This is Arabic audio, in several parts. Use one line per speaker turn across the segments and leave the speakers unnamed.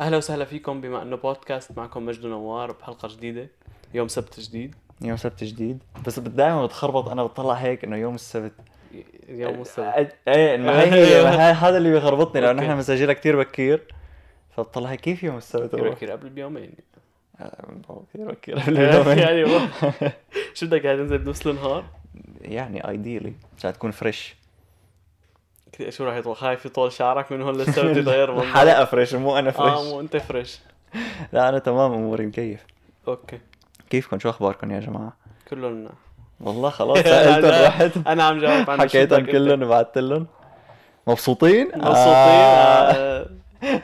اهلا وسهلا فيكم بما انه بودكاست معكم مجد نوار بحلقه جديده يوم سبت جديد
يوم سبت جديد بس دائما بتخربط انا بطلع هيك انه يوم السبت
ي- يوم السبت
أ- ايه ما هي هي ما هي- هذا اللي بيخربطني لانه
أوكي.
احنا بنسجلها كثير بكير فبطلع هيك كيف يوم السبت
كثير
هو؟
كثير قبل بيومين
آه، كثير بكير
يعني والله. شو بدك قاعد تنزل بنص النهار
يعني ايديلي عشان تكون فريش
كثير- شو راح يطول خايف يطول شعرك من هون للسبت يتغير منظرك.
الحلقه فريش مو انا
اه
فريش
مو انت فريش
لا انا تمام اموري مكيف
اوكي
كيفكم شو اخباركم يا جماعه
كله منيح.
والله خلاص
نعم.
سالتهم
أنا-
رحت
انا عم جاوب عن
حكيتهم
مشكلتك أنت.
كلهم وبعثت لهم مبسوطين
مبسوطين
آه.
آه. هي-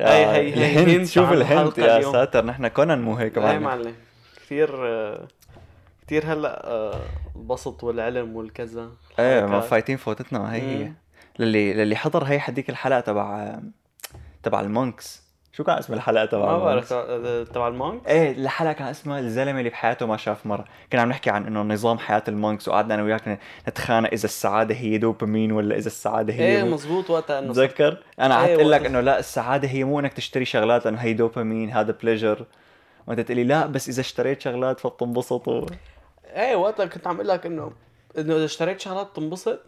هاي
هي-
هاي
هي
الهند
هنت
آه، شوف
عن
الهند
الحلقة
يا
اليوم.
ساتر نحن كنا مو هيك
ايه
معنا
معلم كثير آه، كثير هلا آه، البسط والعلم والكذا
ايه ما
الحركات.
فايتين فوتتنا ما هي هي
مم.
للي للي حضر هي حديك الحلقه تبع تبع المونكس شو كان اسم الحلقه تبع
ما بعرف
المونكس؟
تبع- تبع المونك
ايه الحلقه كان اسمها الزلمه اللي بحياته ما شاف مره كنا عم نحكي عن انه نظام حياه المونكس وقعدنا انا وياك نتخانق اذا السعاده هي دوبامين ولا اذا السعاده هي
ايه مزبوط وقتها انه صرت-
تذكر انا قعدت
إيه،
اقول لك
وقت-
انه لا السعاده هي مو انك تشتري شغلات لانه هي دوبامين هذا بليجر وانت تقلي لا بس اذا اشتريت شغلات فبتنبسط و...
ايه وقتها كنت عم اقول لك انه انه اذا اشتريت شغلات تنبسط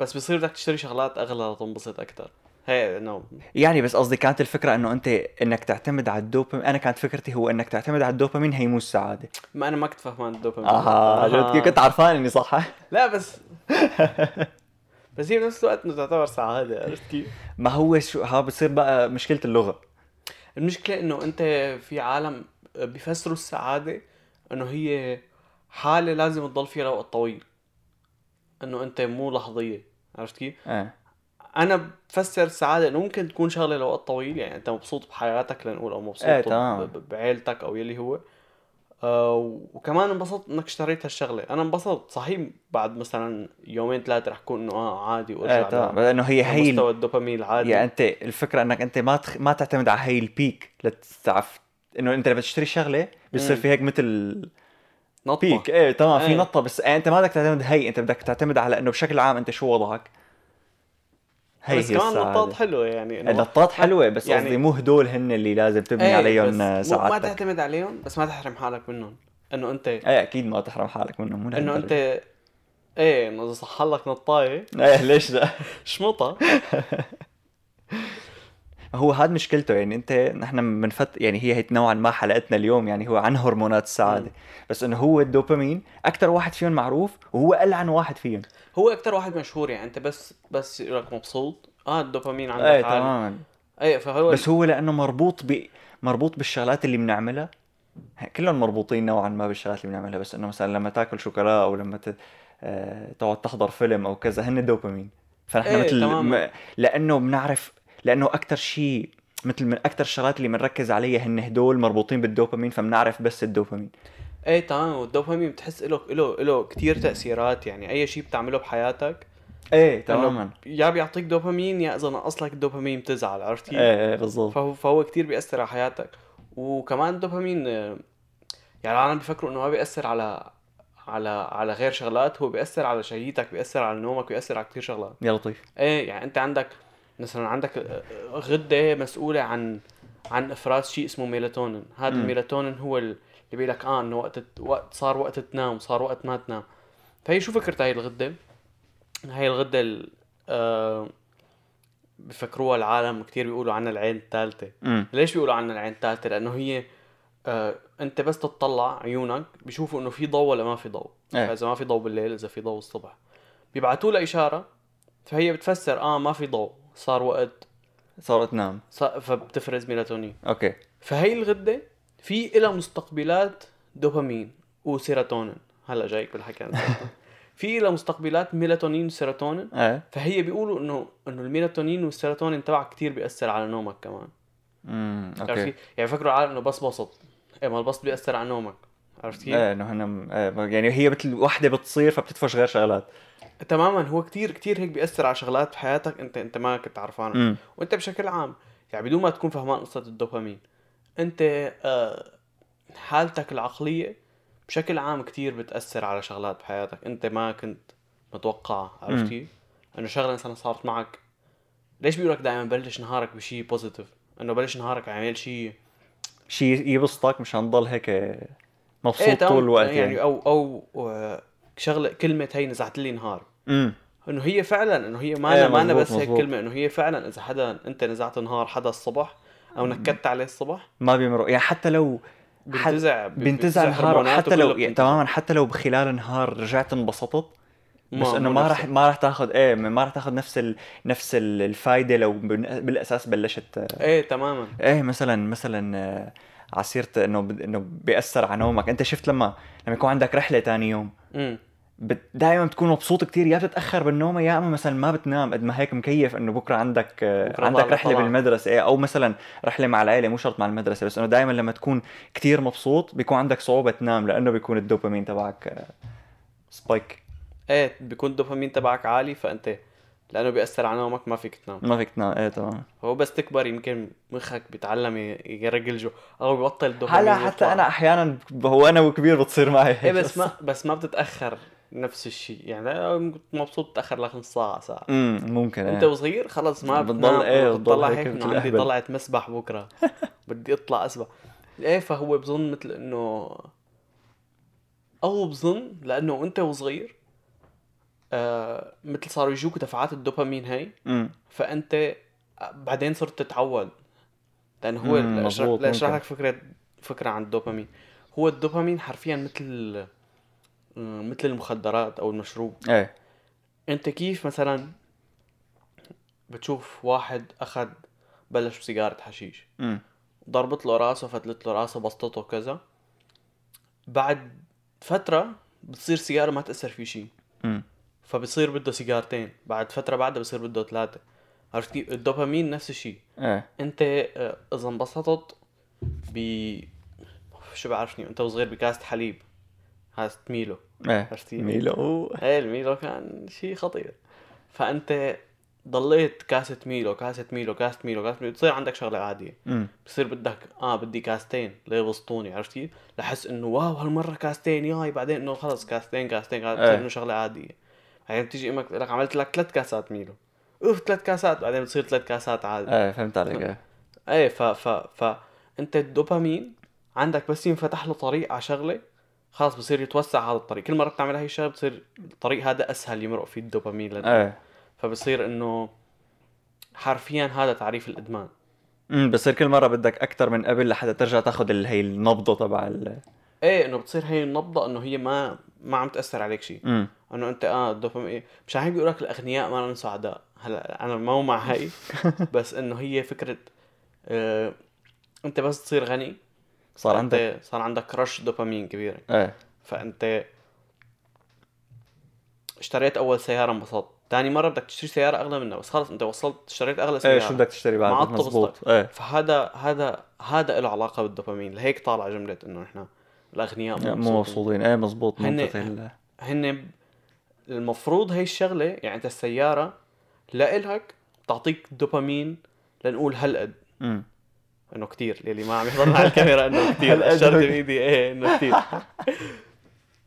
بس بصير بدك تشتري شغلات اغلى لتنبسط اكثر هي انه
يعني بس قصدي كانت الفكره انه انت انك تعتمد على الدوبامين انا كانت فكرتي هو انك تعتمد على الدوبامين هي مو السعاده
ما انا ما كنت فهمان الدوبامين
اها آه، عرفت كيف؟ كنت عرفان اني صح
لا بس بس هي بنفس الوقت انه تعتبر سعاده عرفت كيف؟
ما هو شو ها بتصير بقى مشكله اللغه
المشكلة انه انت في عالم بيفسروا السعادة انه هي حالة لازم تضل فيها لوقت طويل انه انت مو لحظية عرفت كيف؟
ايه
انا بفسر السعادة انه ممكن تكون شغلة لوقت طويل يعني انت مبسوط بحياتك لنقول او مبسوط
إيه، تمام.
ب- بعيلتك او يلي هو آه وكمان انبسطت انك اشتريت هالشغلة انا انبسطت صحيح بعد مثلا يومين ثلاثة رح كون انه اه عادي
ايه
وارجع
تمام
ل-
لانه هي هي ال-
لمستوى الدوبامين العادي
يعني انت الفكره انك انت ما تخ... ما تعتمد على هي البيك لتعرف انه انت لما تشتري شغله بيصير
مم.
في هيك مثل
نطمة
بيك ايه تمام في
إيه.
نطه بس إيه، انت ما بدك تعتمد هي انت بدك تعتمد على انه بشكل عام انت شو وضعك هي
بس
هي
كمان نطاط
السعاده
حلوه يعني إنه
النطاط حلوه بس
يعني-
قصدي مو هدول هن اللي لازم تبني
إيه،
عليهم
بس مو- ما
سعادتك
تعتمد عليهم بس ما تحرم حالك منهم انه انت
ايه اكيد ما تحرم حالك منهم مو
انه
لهالدرجة.
انت ايه انه اذا صح لك نطايه
ايه ليش لا
شمطها
هو هاد مشكلته يعني انت نحن بنفت يعني هي هي نوعا ما حلقتنا اليوم يعني هو عن هرمونات السعاده
مم.
بس انه هو الدوبامين اكثر واحد فيهم معروف وهو العن واحد فيهم
هو اكثر واحد مشهور يعني انت بس بس يقول لك مبسوط اه الدوبامين عندك
ايه
عالي.
تماما
ايه فهو
بس هو لانه مربوط ب مربوط بالشغلات اللي بنعملها ه- كلهم مربوطين نوعا ما بالشغلات اللي بنعملها بس انه مثلا لما تاكل شوكولا او لما ت... آه... تقعد تحضر فيلم او كذا هن دوبامين فنحن
إيه،
مثل
تماماً.
م... لانه بنعرف لانه اكثر شيء مثل من اكثر الشغلات اللي بنركز عليها هن هدول مربوطين بالدوبامين فبنعرف بس الدوبامين
ايه تمام والدوبامين بتحس له له له كثير تاثيرات يعني اي شيء بتعمله بحياتك
ايه
إنه
تماما
يا بيعطيك دوبامين يا اذا نقص لك الدوبامين بتزعل عرفت كيف؟
ايه ايه بالضبط
فهو فهو كتير بيأثر على حياتك وكمان الدوبامين آه، يعني العالم بيفكروا انه ما بيأثر على على على غير شغلات هو بيأثر على شهيتك بيأثر على نومك بيأثر على كتير شغلات
يا لطيف
ايه يعني انت عندك مثلا عندك آه، غدة مسؤولة عن عن افراز شيء اسمه ميلاتونين هذا
مم.
الميلاتونين هو ال- اللي بيقول لك اه انه وقت الت- وقت صار وقت تنام صار وقت ما تنام فهي شو فكرتها هي الغدة هاي الغدة ال- آه بفكروها العالم كتير بيقولوا عنها العين الثالثة
امم
ليش بيقولوا عنها العين الثالثة؟ لأنه هي آه أنت بس تطلع عيونك بيشوفوا إنه في ضوء ولا ما في ضوء،
إيه.
فإذا ما في ضوء بالليل إذا في ضوء الصبح بيبعتوا لها إشارة فهي بتفسر آه ما في ضوء صار وقت
صارت نعم. تنام
صار فبتفرز ميلاتونين،
اوكي
فهي الغدة في إلها مستقبلات دوبامين وسيروتونين، هلا جايك بالحكي عن السيروتونين. في إلها مستقبلات ميلاتونين وسيروتونين
ايه
فهي بيقولوا انه انه الميلاتونين والسيروتونين تبعك كتير بيأثر على نومك كمان
امم
عرفت
اوكي
كيف؟ يعني فكروا العالم انه بس بسط ايه ما البسط بيأثر على نومك عرفت كيف؟
ايه انه هن إيه، يعني هي مثل وحده بتصير فبتدفش غير شغلات
تماما هو كتير كتير هيك بيأثر على شغلات بحياتك انت انت ما كنت عارفانها
امم
وانت بشكل عام يعني بدون ما تكون فهمان قصة الدوبامين انت آه، حالتك العقلية بشكل عام كتير بتأثر على شغلات بحياتك انت ما كنت متوقعة عرفت
مم.
كيف؟ انه شغلة مثلا صارت معك ليش بيقولك دائما بلش نهارك بشيء بوزيتيف انه بلش نهارك عامل شيء
شيء يبسطك مش هنضل هيك مبسوط طول الوقت يعني,
إيه، يعني او او آه، شغله كلمه هي نزعت لي نهار
امم
انه هي فعلا انه هي
إيه،
ما ما
مزبوط،
بس هيك
مزبوط.
كلمه انه هي فعلا اذا حدا انت نزعت نهار حدا الصبح او نكدت عليه الصبح
ما بيمرق يعني حتى لو
بنتزع
بنتزع نهار
هرموناته
حتى لو
كلها
يعني
بتنتزع.
تماما حتى لو بخلال نهار رجعت انبسطت بس
ما-
انه
مو
ما
نفس
راح ما راح تاخذ ايه ما راح تاخذ نفس ال... نفس ال- الفائده لو بن- بالاساس بلشت
ايه تماما
ايه مثلا مثلا آه، على سيره انه ب- انه بياثر على نومك انت شفت لما لما يكون عندك رحله تاني يوم
امم
دائما بتكون مبسوط كتير يا بتتاخر بالنوم يا اما مثلا ما بتنام قد ما هيك مكيف انه بكره عندك آه،
بكرة
عندك
طالع-
رحله
طالع.
بالمدرسه إيه، او مثلا رحله مع العائله مو شرط مع المدرسه بس انه دائما لما تكون كتير مبسوط بيكون عندك صعوبه تنام لانه بيكون الدوبامين تبعك آه، سبايك
ايه بيكون الدوبامين تبعك عالي فانت لانه بياثر على نومك ما فيك تنام
ما فيك تنام ايه تمام
هو بس تكبر يمكن مخك بيتعلم ي- يرجلجه او بيبطل الدوبامين
هلا
يطلع.
حتى انا احيانا ب- هو انا وكبير بتصير معي هيك
ايه بس ما بس ما بتتاخر نفس الشيء يعني أنا كنت مبسوط بتاخر لك نص ساعه ساعه
امم ممكن
انت وصغير خلص ما
بتضل-
بتنام،
إيه، بتضل
بتطلع
هيك
هيك انه
مثل
عندي
الأهبل.
طلعت مسبح بكره بدي اطلع اسبح ايه فهو بظن مثل انه او بظن لانه انت وصغير آه مثل صاروا يجوك دفعات الدوبامين هاي
امم
فانت بعدين صرت تتعود لانه هو
مم،
لأشرح-
مظبوط،
لاشرح
ممكن.
لك فكره فكره عن الدوبامين هو الدوبامين حرفيا مثل م- مثل المخدرات او المشروب
ايه
انت كيف مثلا بتشوف واحد اخذ بلش بسيجاره حشيش
امم
ضربت له راسه فتلت له راسه بسطته كذا بعد فتره بتصير سيجاره ما تاثر في شيء
امم
فبصير بده سيجارتين بعد فتره بعدها بصير بده ثلاثه عرفت كيف الدوبامين نفس الشيء
ايه
انت آه، اذا انبسطت ب شو بعرفني انت وصغير بكاسه حليب هذا ميلو
ايه
عرفتي؟
ميلو
ايه الميلو كان شيء خطير فانت ضليت كاسه ميلو كاسه ميلو كاسه ميلو كاسه ميلو بتصير عندك شغله عاديه
امم
بصير بدك اه بدي كاستين ليبسطوني عرفت كيف؟ لحس انه واو هالمره كاستين ياي بعدين انه خلص كاستين كاستين كاستين
إيه.
بتصير انه شغله عاديه بعدين بتيجي امك بتقول لك عملت لك ثلاث كاسات ميلو اوف ثلاث كاسات بعدين بتصير ثلاث كاسات عادي
ايه فهمت عليك ايه
ايه ف ف ف انت الدوبامين عندك بس ينفتح له طريق على شغله خلاص بصير يتوسع هذا الطريق كل مره بتعمل هاي الشغله بصير الطريق هذا اسهل يمرق فيه الدوبامين لديك.
ايه
فبصير انه حرفيا هذا تعريف الادمان
امم بصير كل مره بدك اكثر من قبل لحتى ترجع تاخذ ال- هي النبضه تبع ال
ايه انه بتصير هي النبضه انه هي ما ما عم تاثر عليك شيء
امم
انه انت اه الدوبامين إيه. مش عم بيقول لك الاغنياء ما لهم سعداء هلا انا مو مع هاي بس انه هي فكره آه انت بس تصير غني
صار
أنت-
عندك
صار عندك رش دوبامين كبيره
ايه
فانت اشتريت اول سياره انبسطت تاني مره بدك تشتري سياره اغلى منها بس خلص انت وصلت اشتريت اغلى سياره
ايه شو بدك تشتري بعد
معطل
مزبوط ايه
فهذا هذا هذا له علاقه بالدوبامين لهيك طالع جمله انه نحن الاغنياء
مو مبسوطين ايه مزبوط
هن-
منطقة ال-
هن ب- المفروض هي الشغله يعني انت السياره لإلك بتعطيك دوبامين لنقول هالقد
امم
انه كتير يلي ما عم يحضرنا على الكاميرا انه كتير
هالقد
اشرت
هيك.
بايدي ايه انه كتير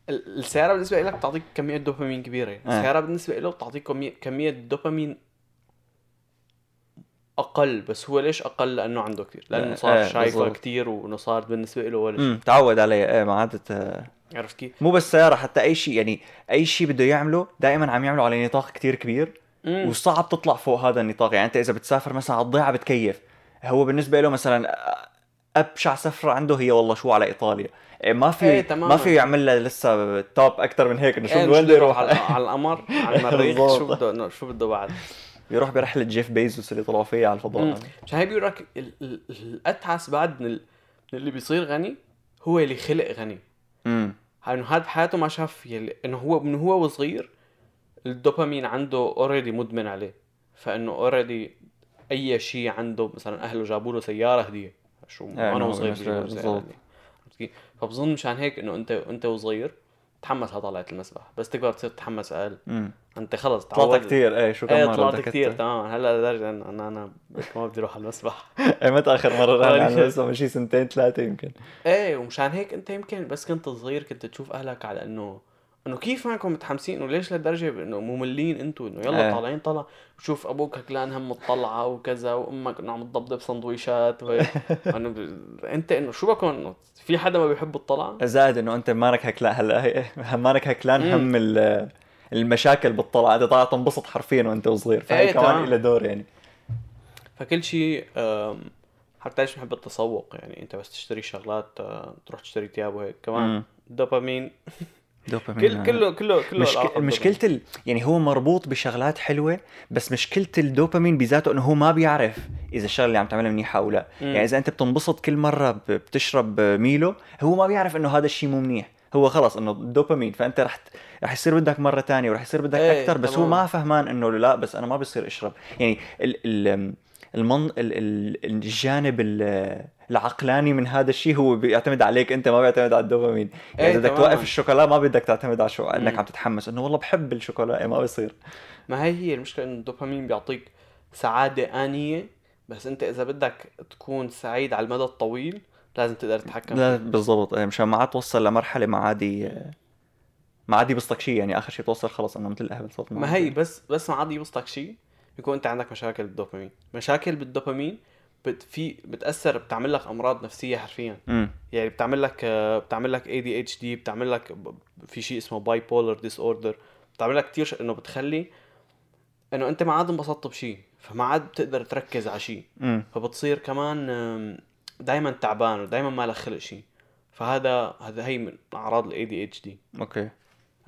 ال- السيارة بالنسبة لك بتعطيك كمية دوبامين كبيرة، السيارة بالنسبة له بتعطيك كمية كمية دوبامين أقل، بس هو ليش أقل؟ لأنه عنده كتير، لأنه
إيه،
صار
إيه،
شايفها
بالضبط.
كتير وإنه صار بالنسبة له ولا شيء،
امم تعود عليه ايه ما عادت آه،
عرفت كيف؟
مو بس سياره حتى اي شيء يعني اي شيء بده يعمله دائما عم يعمله على نطاق كتير كبير
مم.
وصعب تطلع فوق هذا النطاق يعني انت اذا بتسافر مثلا على الضيعه بتكيف هو بالنسبه له مثلا ابشع سفره عنده هي والله شو على ايطاليا إيه ما في
إيه،
ايه
تماماً.
ما في يعمل لها لسه توب اكثر من هيك انه شو
إيه،
من
مش
وين بده
بده
يروح
على, على القمر على المريخ
بالضبط.
شو بده إنه شو بده بعد؟
بيروح برحله جيف بيزوس اللي طلعوا فيها على
مم.
الفضاء
مشان هيك بيقول لك ال- ال- الأتعس بعد من ال- من اللي بيصير غني هو اللي خلق غني،
امم
انه هاد بحياته ما شاف يلي انه هو من هو وصغير الدوبامين عنده اوريدي مدمن عليه فانه اوريدي اي شيء عنده مثلا اهله جابوا له سياره هديه شو
إيه،
انا
إنه
وصغير
بالنسبة
بيجيبوا لي سيارة
بالضبط.
هدية. عرفت كيف؟ فبظن مشان هيك انه انت انت وصغير تحمس على طلعت المسبح بس تكبر بتصير تتحمس اقل
امم
انت خلص
طلعت
تعودت.
كثير ايه شو كم
ايه
مرة
طلعت
بدك
كثير
ت-
تمام هلا لدرجه انه انا انا ما بدي اروح على المسبح
ايه متى اخر مره
طلعت
رحنا
كتير.
على لسه من شي سنتين ثلاثه يمكن
إيه، ايه ومشان هيك انت يمكن بس كنت صغير كنت تشوف اهلك على انه انه كيف معكم متحمسين انه ليش لهالدرجه انه مملين انتوا انه يلا
إيه.
طالعين طلع وشوف ابوك هكلان هم الطلعه وكذا وامك انه عم تضبضب سندويشات وهيك انه ب- انت انه شو بكون إنه في حدا ما بيحب الطلعه؟
زائد انه انت مالك هكلان هلا إيه، هي- مالك هكلان
مم.
هم ال- المشاكل بالطلعه انت طالع تنبسط حرفيا وانت صغير فهي
إيه،
كمان
تمام.
لها دور يعني
فكل شيء آم، حتى ليش بنحب التسوق يعني انت بس تشتري شغلات آه، تروح تشتري ثياب وهيك كمان
مم.
دوبامين
دوبامين
كل كله كله كله
مشك...
العلاقة بالدوبامين.
مشكلة ال... يعني هو مربوط بشغلات حلوة بس مشكلة الدوبامين بذاته انه هو ما بيعرف اذا الشغلة اللي عم تعملها منيحة او لا،
مم.
يعني اذا انت بتنبسط كل مرة ب... بتشرب ميلو هو ما بيعرف انه هذا الشيء مو منيح، هو خلص انه الدوبامين فانت رح ت- رح يصير بدك مرة تانية ورح يصير بدك
إيه،
اكثر بس هو
تمام.
ما فهمان انه لا بس انا ما بصير اشرب، يعني ال... ال... المن... ال... ال... الجانب ال... العقلاني من هذا الشيء هو بيعتمد عليك انت ما بيعتمد على الدوبامين يعني
إيه،
اذا بدك
تماماً.
توقف الشوكولا ما بدك تعتمد على شو انك
مم.
عم تتحمس انه والله بحب الشوكولا إيه، ما بيصير
ما هي هي المشكلة انه الدوبامين بيعطيك سعادة آنية بس انت اذا بدك تكون سعيد على المدى الطويل لازم تقدر تتحكم
لا
فيه.
بالضبط إيه، مشان ما عاد توصل لمرحله ما عادي ما عادي بيصلك شيء يعني اخر شيء توصل خلص انه مثل الاهبل صرت
ما هي بس بس ما عاد يبسطك شيء بيكون انت عندك مشاكل بالدوبامين مشاكل بالدوبامين بت في بتاثر بتعمل لك امراض نفسيه حرفيا
امم
يعني بتعمل لك آه، بتعمل لك اي دي اتش دي بتعمل لك ب- في شيء اسمه باي بولر ديس اوردر بتعمل لك كثير ش- انه بتخلي انه انت ما عاد انبسطت بشيء فما عاد بتقدر تركز على شيء
امم
فبتصير كمان دائما تعبان ودائما ما لك خلق شيء فهذا هذا هي من اعراض الاي دي اتش دي
اوكي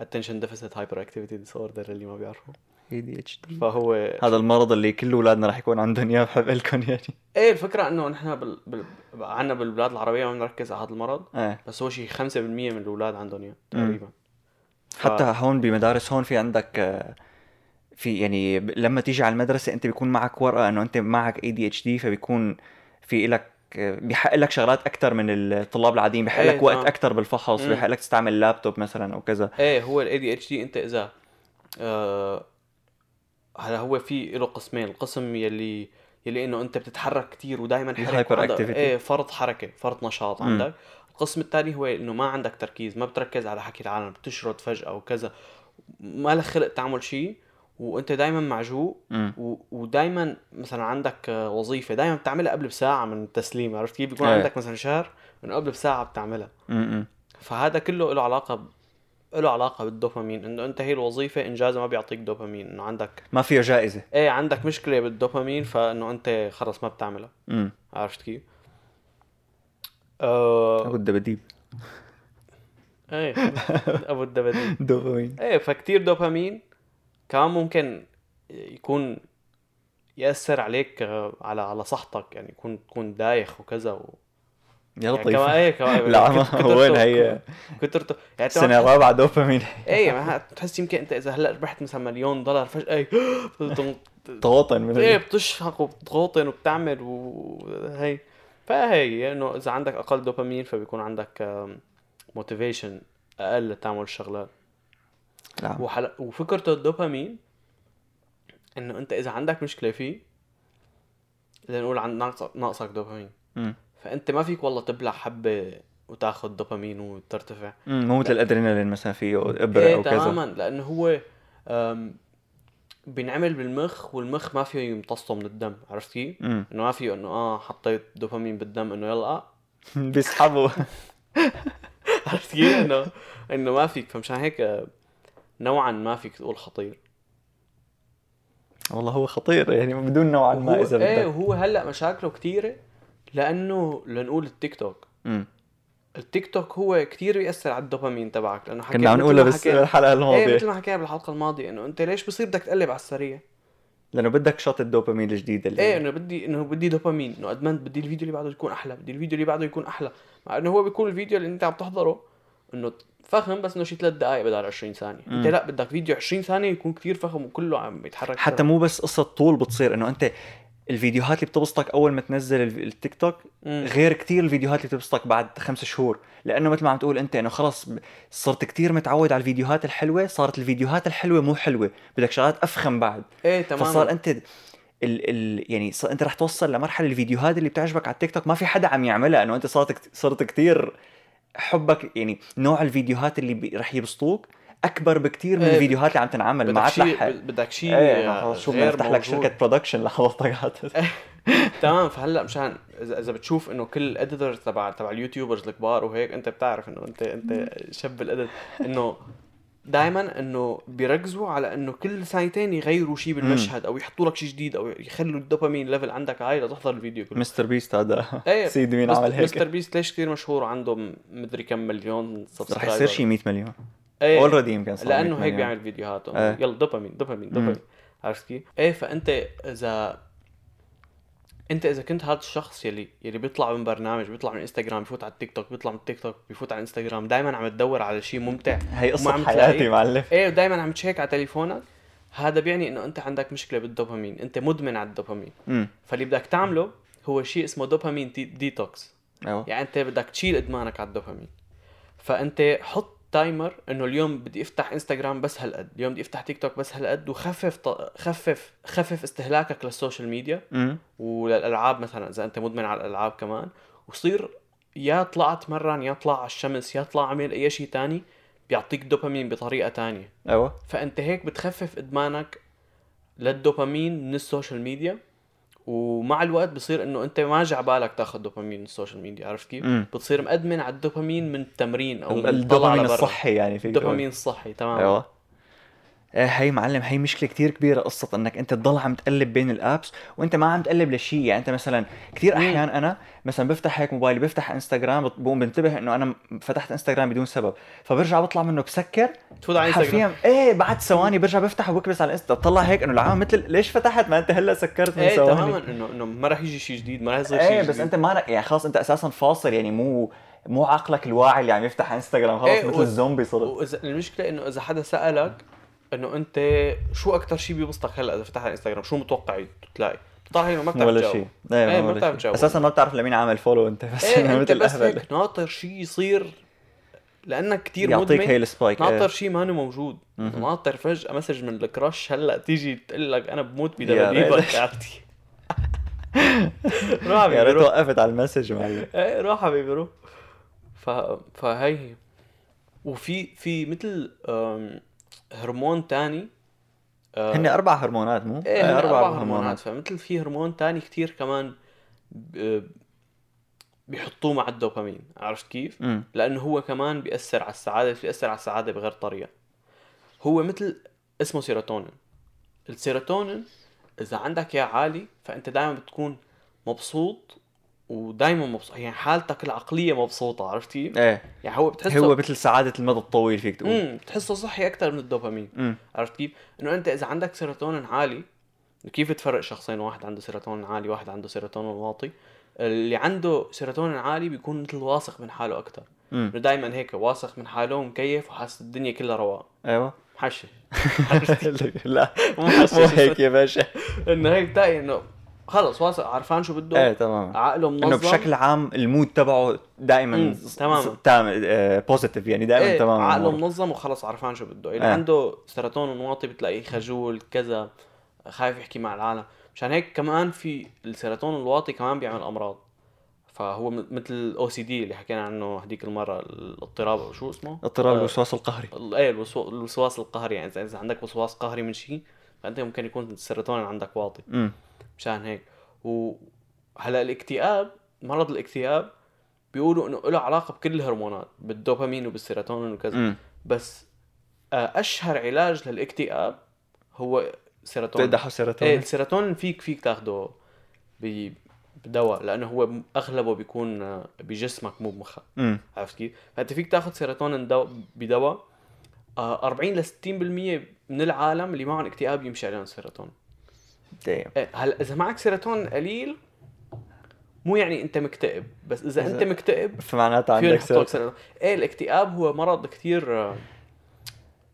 اتنشن ديفيسيت هايبر اكتيفيتي ديس اوردر اللي ما بيعرفه
اي دي اتش دي
فهو
هذا المرض اللي كل اولادنا رح يكون عندهم اياه بحب لكم يعني
ايه الفكره انه نحن بال... بال... عندنا بالبلاد العربيه ما بنركز على هذا المرض
ايه
بس هو شيء 5% من الاولاد عندهم اياه تقريبا ف-
حتى هون بمدارس هون في عندك آه، في يعني ب- لما تيجي على المدرسه انت بيكون معك ورقه انه انت معك اي دي اتش دي فبيكون في لك بيحق لك شغلات اكثر من الطلاب العاديين بيحق
إيه،
لك وقت
تمام.
اكثر بالفحص
مم.
بيحق لك تستعمل لابتوب مثلا او كذا
ايه هو الاي دي اتش دي انت اذا آه، هلا هو في له قسمين القسم يلي يلي انه انت بتتحرك كتير ودائما حركه
الhyper
وعندك-
activity.
ايه فرط حركه فرط نشاط
مم.
عندك القسم الثاني هو انه ما عندك تركيز ما بتركز على حكي العالم بتشرد فجاه وكذا ما لك خلق تعمل شيء وانت دائما معجوق
مم.
ودائما مثلا عندك آه، وظيفه دائما بتعملها قبل بساعه من التسليم عرفت كيف بيكون
إيه.
عندك مثلا شهر انه قبل بساعه بتعملها
مم.
فهذا كله له علاقه ب... له علاقه بالدوبامين انه انت هي الوظيفه انجازها ما بيعطيك دوبامين انه عندك
ما فيه جائزه
ايه عندك مشكله بالدوبامين فانه انت خلص ما بتعملها
امم
عرفت كيف؟ آه...
ابو الدبديب
ايه ابو الدبدين
دوبامين
ايه فكتير دوبامين كمان ممكن يكون ياثر عليك آه، على على صحتك يعني يكون تكون دايخ وكذا و...
يا
يعني كمان
لطيف
ايه كمان
طيب. لا ما-
كترته-
وين هي
كترته يعني
السنه الرابعه دوبامين
ايه ما بتحس يمكن انت اذا هلا ربحت مثلا مليون دولار إيه، فجاه هيك بتن-
طوطن من
ايه
ال-
بتشهق وبتغوطن وبتعمل وهي فهي انه اذا عندك اقل دوبامين فبيكون عندك موتيفيشن اقل لتعمل الشغلات
لا
وحل... وفكرته الدوبامين انه انت اذا عندك مشكله فيه اذا نقول عن ناقص- ناقصك دوبامين
مم.
فانت ما فيك والله تبلع حبه وتاخذ دوبامين وترتفع
مم، مو مثل الادرينالين مثلا فيه ابره
ايه
او كذا
تماما لانه هو أم، بينعمل بالمخ والمخ ما فيه يمتصه من الدم عرفت كيف؟
مم.
انه ما فيه انه اه حطيت دوبامين بالدم انه يلا آه.
بيسحبوا
عرفت كيف؟ انه انه ما فيك فمشان هيك آه، نوعا ما فيك تقول خطير
والله هو خطير يعني بدون نوعا
هو
ما اذا
ايه
بدك
وهو هلا مشاكله كثيره لانه لنقول التيك توك
مم.
التيك توك هو كثير بيأثر على الدوبامين تبعك لانه حكينا
كنا عم
مثل
نقولها
ما
بس
حكينا-
الحلقه
ايه
الماضيه
مثل ما حكينا بالحلقه الماضيه انه انت ليش بصير بدك تقلب على السريع؟
لانه بدك شوت الدوبامين الجديد اللي
ايه انه بدي انه بدي دوبامين انه ادمنت بدي الفيديو اللي بعده يكون احلى بدي الفيديو اللي بعده يكون احلى مع انه هو بيكون الفيديو اللي انت عم تحضره انه فخم بس انه شي ثلاث دقائق بدل 20 ثانيه انت
مم.
لا بدك فيديو 20 ثانيه يكون كثير فخم وكله عم يتحرك
حتى مو بس قصه طول بتصير انه انت الفيديوهات اللي بتبسطك اول ما تنزل الف- التيك توك
مم.
غير كتير الفيديوهات اللي بتبسطك بعد خمس شهور لانه مثل ما عم تقول انت انه خلص ب- صرت كتير متعود على الفيديوهات الحلوه صارت الفيديوهات الحلوه مو حلوه بدك شغلات افخم بعد
ايه تماما
فصار انت ال ال يعني ص- انت رح توصل لمرحله الفيديوهات اللي بتعجبك على التيك توك ما في حدا عم يعملها انه انت صارت كت- صرت كتير حبك يعني نوع الفيديوهات اللي بي- رح يبسطوك اكبر بكتير من
إيه،
الفيديوهات اللي عم تنعمل ما
بدك
عاد رح
شيء بدك شيء
ايه خلص شو بدنا
غير
نفتح لك
موجود. إيه.
شركه برودكشن لحضرتك عاد.
تمام فهلا مشان اذا اذا بتشوف انه كل الاديتورز تبع تبع اليوتيوبرز الكبار وهيك انت بتعرف انه انت انت شاب الادت انه دائما انه بيركزوا على انه كل ثانيتين يغيروا شيء بالمشهد او يحطوا لك شيء جديد او يخلوا الدوبامين ليفل عندك عالي لتحضر الفيديو كله
مستر بيست هذا
إيه،
سيد مين عمل
مستر
هيك
بيست ليش كثير مشهور عنده مدري كم مليون
رح
سبسكرايبر
يصير شيء 100 مليون
ايه
اوريدي يمكن صار 100
لانه هيك
مليون.
بيعمل فيديوهاته
إيه.
يلا دوبامين دوبامين
مم.
دوبامين عرفت كيف؟ ايه فانت اذا انت اذا كنت هذا الشخص يلي يلي بيطلع من برنامج بيطلع من انستغرام بيفوت على التيك توك بيطلع من التيك توك بيفوت على انستغرام دائما عم تدور على شيء ممتع
هي
وما عم
قصه
تلاقيه.
حياتي معلم
ايه ودائما عم تشيك على تليفونك هذا بيعني انه انت عندك مشكله بالدوبامين انت مدمن على الدوبامين
امم
فاللي بدك تعمله هو شيء اسمه دوبامين دي- ديتوكس
ايوه
يعني انت بدك تشيل ادمانك على الدوبامين فانت حط تايمر انه اليوم بدي افتح انستغرام بس هالقد اليوم بدي افتح تيك توك بس هالقد وخفف ط... خفف خفف استهلاكك للسوشيال ميديا
امم
وللالعاب مثلا اذا انت مدمن على الالعاب كمان وصير يا طلع اتمرن يا طلع على الشمس يا طلع اعمل اي شيء تاني بيعطيك دوبامين بطريقه تانية
ايوه
فانت هيك بتخفف ادمانك للدوبامين من السوشيال ميديا ومع الوقت بصير انه انت ما جع بالك تاخذ دوبامين من السوشيال ميديا عرفت كيف؟
مم.
بتصير مأدمن على الدوبامين من التمرين او من الطلعة
الدوبامين
لبرا.
الصحي يعني فيك تقول.
الدوبامين الصحي تمام
ايوه آه، هي معلم هي مشكله كتير كبيره قصه انك انت تضل عم تقلب بين الابس وانت ما عم تقلب لشيء يعني انت مثلا كتير
مم.
احيان انا مثلا بفتح هيك موبايلي بفتح انستغرام بقوم بنتبه انه انا فتحت انستغرام بدون سبب فبرجع بطلع منه بسكر
تفوت على انستغرام
حرفيا ايه بعد ثواني برجع بفتح وبكبس على الانستا بطلع هيك انه العالم مثل ليش فتحت ما انت هلا سكرت من
ايه
ثواني
تماما انه انه ما راح يجي شيء جديد ما راح يصير شيء
ايه بس انت ما يعني خلاص انت اساسا فاصل يعني مو مو عقلك الواعي اللي عم يفتح انستغرام خلاص
إيه،
مثل
و-
الزومبي صرت
وإذا المشكله انه اذا حدا سالك انه انت شو اكثر شيء بيبسطك هلا اذا فتحت انستغرام شو متوقع تلاقي؟ بتطلع ما بتعرف
ولا
تجاوب.
شيء
إيه، ما
ايه ما
بتعرف
بتعرف
تجاوب.
اساسا ما بتعرف لمين عامل فولو انت بس
ايه
مثل
انت بس
الاهبل
هيك ناطر شيء يصير لانك كثير
يعطيك
مدمن
هي السبايك
ناطر
ايه.
شيء مانو موجود
مهم.
ناطر فجاه مسج من الكراش هلا تيجي تقول لك انا بموت
يا ريت.
بدبابيبك عرفتي روح
يا
حبيبي
ريت
روح
وقفت على المسج معلم
ايه روح حبيبي روح ف... فهي هي. وفي في مثل أم، هرمون تاني أه،
هن اربع هرمونات مو؟
ايه هن اربع هرمونات, فمثل في هرمون تاني كتير كمان ب- بيحطوه مع الدوبامين عرفت كيف؟
امم
لانه هو كمان بياثر على السعاده بس بياثر على السعاده بغير طريقه هو مثل اسمه سيروتونين السيروتونين اذا عندك يا عالي فانت دائما بتكون مبسوط ودائما مبسوط يعني حالتك العقليه مبسوطه عرفتي
ايه
يعني هو بتحسه
هو مثل سعاده المدى الطويل فيك تقول
امم بتحسه صحي اكثر من الدوبامين
امم
عرفت كيف انه انت اذا عندك سيروتونين عالي كيف تفرق شخصين واحد عنده سيروتونين عالي واحد عنده سيروتونين واطي اللي عنده سيروتونين عالي بيكون مثل واثق من حاله اكثر
امم
انه دائما هيك واثق من حاله ومكيف وحاسس الدنيا كلها رواق
ايوه
محشش
لا
مو محشش
مو هيك يا باشا
انه هيك بتلاقي انه خلص واثق عرفان شو
ايه
بده
تماما
عقله
انه
منظم
بشكل عام المود تبعه دائما
مم، تماما.
تمام بوزيتيف يعني دائما
إيه،
تماما
عقله
أموره.
منظم وخلص عرفان شو بده اللي
إيه.
عنده سيروتونين واطي بتلاقيه خجول كذا خايف يحكي مع العالم مشان هيك كمان في السيروتونين الواطي كمان بيعمل امراض فهو م- مثل الاو سي دي اللي حكينا عنه هديك المره الاضطراب أو شو اسمه
اضطراب
آه،
الوسواس القهري
ال- ايه الوسو- الوسواس القهري يعني إذا- اذا عندك وسواس قهري من شيء فانت ممكن يكون السيروتونين عندك واطي
امم
مشان هيك وهلا الاكتئاب مرض الاكتئاب بيقولوا انه له علاقه بكل الهرمونات بالدوبامين وبالسيروتونين وكذا
امم
بس آه، اشهر علاج للاكتئاب هو سيروتونين
بتقدحوا
ايه
سيروتونين
السيروتونين فيك فيك تاخده ب- بدواء لانه هو اغلبه بيكون آه، بجسمك مو بمخك
امم
عرفت كيف؟ فانت فيك تاخذ سيروتونين دو... بدواء آه، 40 ل 60% من العالم اللي معهم اكتئاب يمشي عليهم سيروتونين،
دايم
إيه، هلا اذا معك سيروتونين قليل مو يعني انت مكتئب، بس اذا
إذا-
انت مكتئب
فمعناتها
فيهم
عندك
يحطوا لك
سيروتونين
سيروتونين، ايه الاكتئاب هو مرض كثير آه،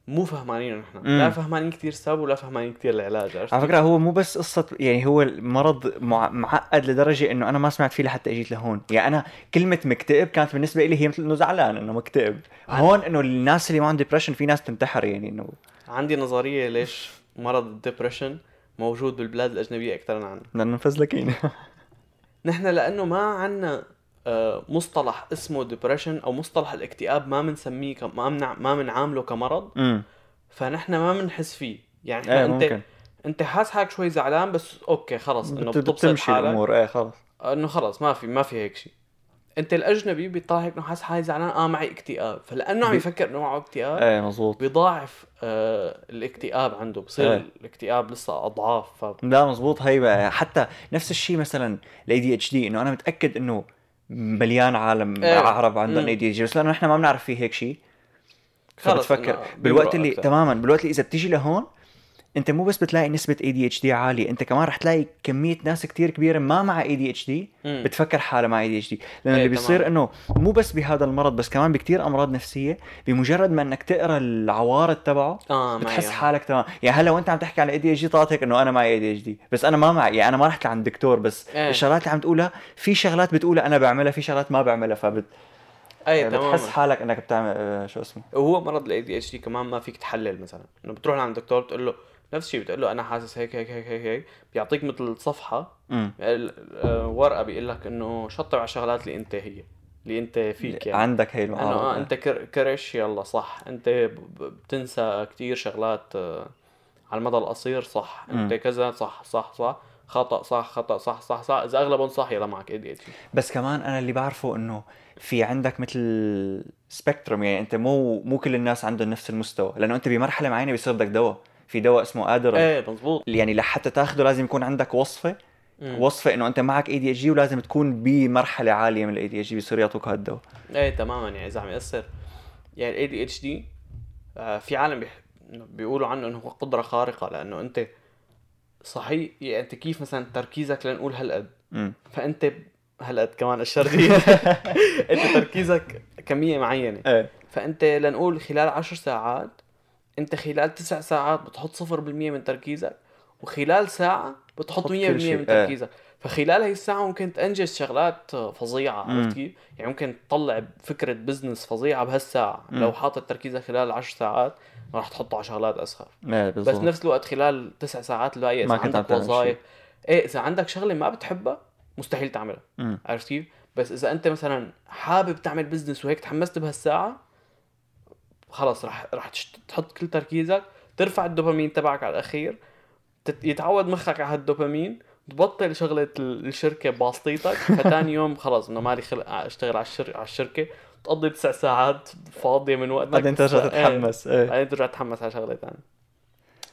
مو فهمانينه نحن،
مم.
لا فهمانين كثير سبب ولا فهمانين كثير العلاج عرفت؟
على فكره هو مو بس قصه يعني هو المرض مع- معقد لدرجه انه انا ما سمعت فيه لحتى اجيت لهون يعني انا كلمه مكتئب كانت بالنسبه لي هي مثل انه زعلان انه مكتئب هون انه الناس اللي ما عندهم ديبرشن في ناس تنتحر يعني انه
عندي نظريه ليش مرض الدبرشن نعم. موجود بالبلاد الاجنبيه اكثر من عنا.
بدنا ننفذ لك يعني
نحن لانه ما عنا آه، مصطلح اسمه ديبريشن او مصطلح الاكتئاب ما بنسميه ك- ما منع ما بنعامله كمرض
امم
فنحن ما بنحس فيه يعني إحنا
ايه
انت
ممكن
انت حاسس حالك شوي زعلان بس اوكي خلص انه
بت-
بتبسط
بتمشي
حالك
الامور ايه خلص
انه خلص ما في ما في هيك شيء انت الاجنبي بيطلع هيك انه حاسس حالي زعلان اه معي اكتئاب فلانه عم
بي-
يفكر انه معه اكتئاب
ايه مزبوط
بيضاعف آه الاكتئاب عنده بصير
إيه.
الاكتئاب لسه اضعاف ف
لا مزبوط هي بقى حتى نفس الشيء مثلا الاي دي اتش دي انه انا متاكد انه مليان عالم
إيه.
عرب عندهم
مم.
اي دي اتش دي بس لانه نحن ما بنعرف فيه هيك شيء
خلص
فبتفكر
إنه
بالوقت
بيمرق
اللي
أكتر.
تماما بالوقت اللي اذا بتيجي لهون انت مو بس بتلاقي نسبه اي دي اتش دي عاليه انت كمان رح تلاقي كميه ناس كتير كبيره ما مع اي دي اتش دي
مم.
بتفكر حالها مع اي دي اتش دي لانه
إيه،
اللي بيصير
تمام.
انه مو بس بهذا المرض بس كمان بكتير امراض نفسيه بمجرد ما انك تقرا العوارض تبعه
اه معي
بتحس
آه.
حالك تمام يعني هلا وانت عم تحكي على اي دي اتش دي طلعت هيك انه انا معي اي دي اتش دي بس انا ما معي يعني انا ما رحت لعند دكتور بس
إيه.
الشغلات اللي عم تقولها في شغلات بتقولها انا بعملها في شغلات ما بعملها فبتحس
اي
يعني
تمام
حالك انك بتعمل آه، شو اسمه
وهو مرض الاي دي اتش دي كمان ما فيك تحلل مثلا انه بتروح لعند دكتور بتقول له نفس الشيء بتقول له انا حاسس هيك هيك هيك هيك, هيك. بيعطيك مثل صفحه
امم
ال- آه، ورقه بيقول لك انه شطب على الشغلات اللي انت هي اللي انت فيك يعني
عندك هي
انه
المعارض
اه انت كر- كرش يلا صح انت ب- ب- بتنسى كتير شغلات آه، على المدى القصير صح انت
مم.
كذا صح صح صح خطا صح خطا صح صح صح اذا اغلبهم صح يلا معك اي دي اتش دي
بس كمان انا اللي بعرفه انه في عندك مثل سبيكتروم يعني انت مو مو كل الناس عندهم نفس المستوى لانه انت بمرحله معينه بيصير بدك دواء في دواء اسمه ادرل
ايه مزبوط
يعني لحتى تاخده لازم يكون عندك وصفه
مم.
وصفه انه انت معك اي دي اتش جي ولازم تكون بمرحله عاليه من الاي دي اتش جي بيصير يعطوك هالدواء
ايه تماما يعني اذا عم ياثر يعني الاي دي اتش دي آه، في عالم بيح... إنه بيقولوا عنه انه هو قدره خارقه لانه انت صحيح يعني انت كيف مثلا تركيزك لنقول هالقد
امم
فانت هالقد كمان الشرطية انت تركيزك كميه معينه
ايه
فانت لنقول خلال عشر ساعات انت خلال تسع ساعات بتحط 0% من تركيزك وخلال ساعة بتحط 100%
بتحط كل شيء،
من
ايه.
تركيزك فخلال هي الساعة ممكن تنجز شغلات فظيعة
مم.
عرفت كيف؟ يعني ممكن تطلع فكرة بزنس فظيعة بهالساعة
مم.
لو حاطط تركيزك خلال 10 ساعات ما رح تحطه على شغلات اسخف
ايه
بس
بالضبط
نفس الوقت خلال تسع ساعات لا اذا
ما كنت عم
عندك
تعمل شيء.
وظائف ايه اذا عندك شغلة ما بتحبها مستحيل تعملها
مم.
عرفت كيف؟ بس اذا انت مثلا حابب تعمل بزنس وهيك تحمست بهالساعه خلص رح رح تشت- تحط كل تركيزك ترفع الدوبامين تبعك على الاخير تت- يتعود مخك على هالدوبامين تبطل شغلة ال- الشركة باسطيتك فتاني يوم خلص انه مالي خلق اشتغل على الشر... على الشركة تقضي تسع ساعات فاضية من وقتك
بعدين ترجع
إيه.
تتحمس ايه
بعدين ترجع تتحمس على شغلة ثانية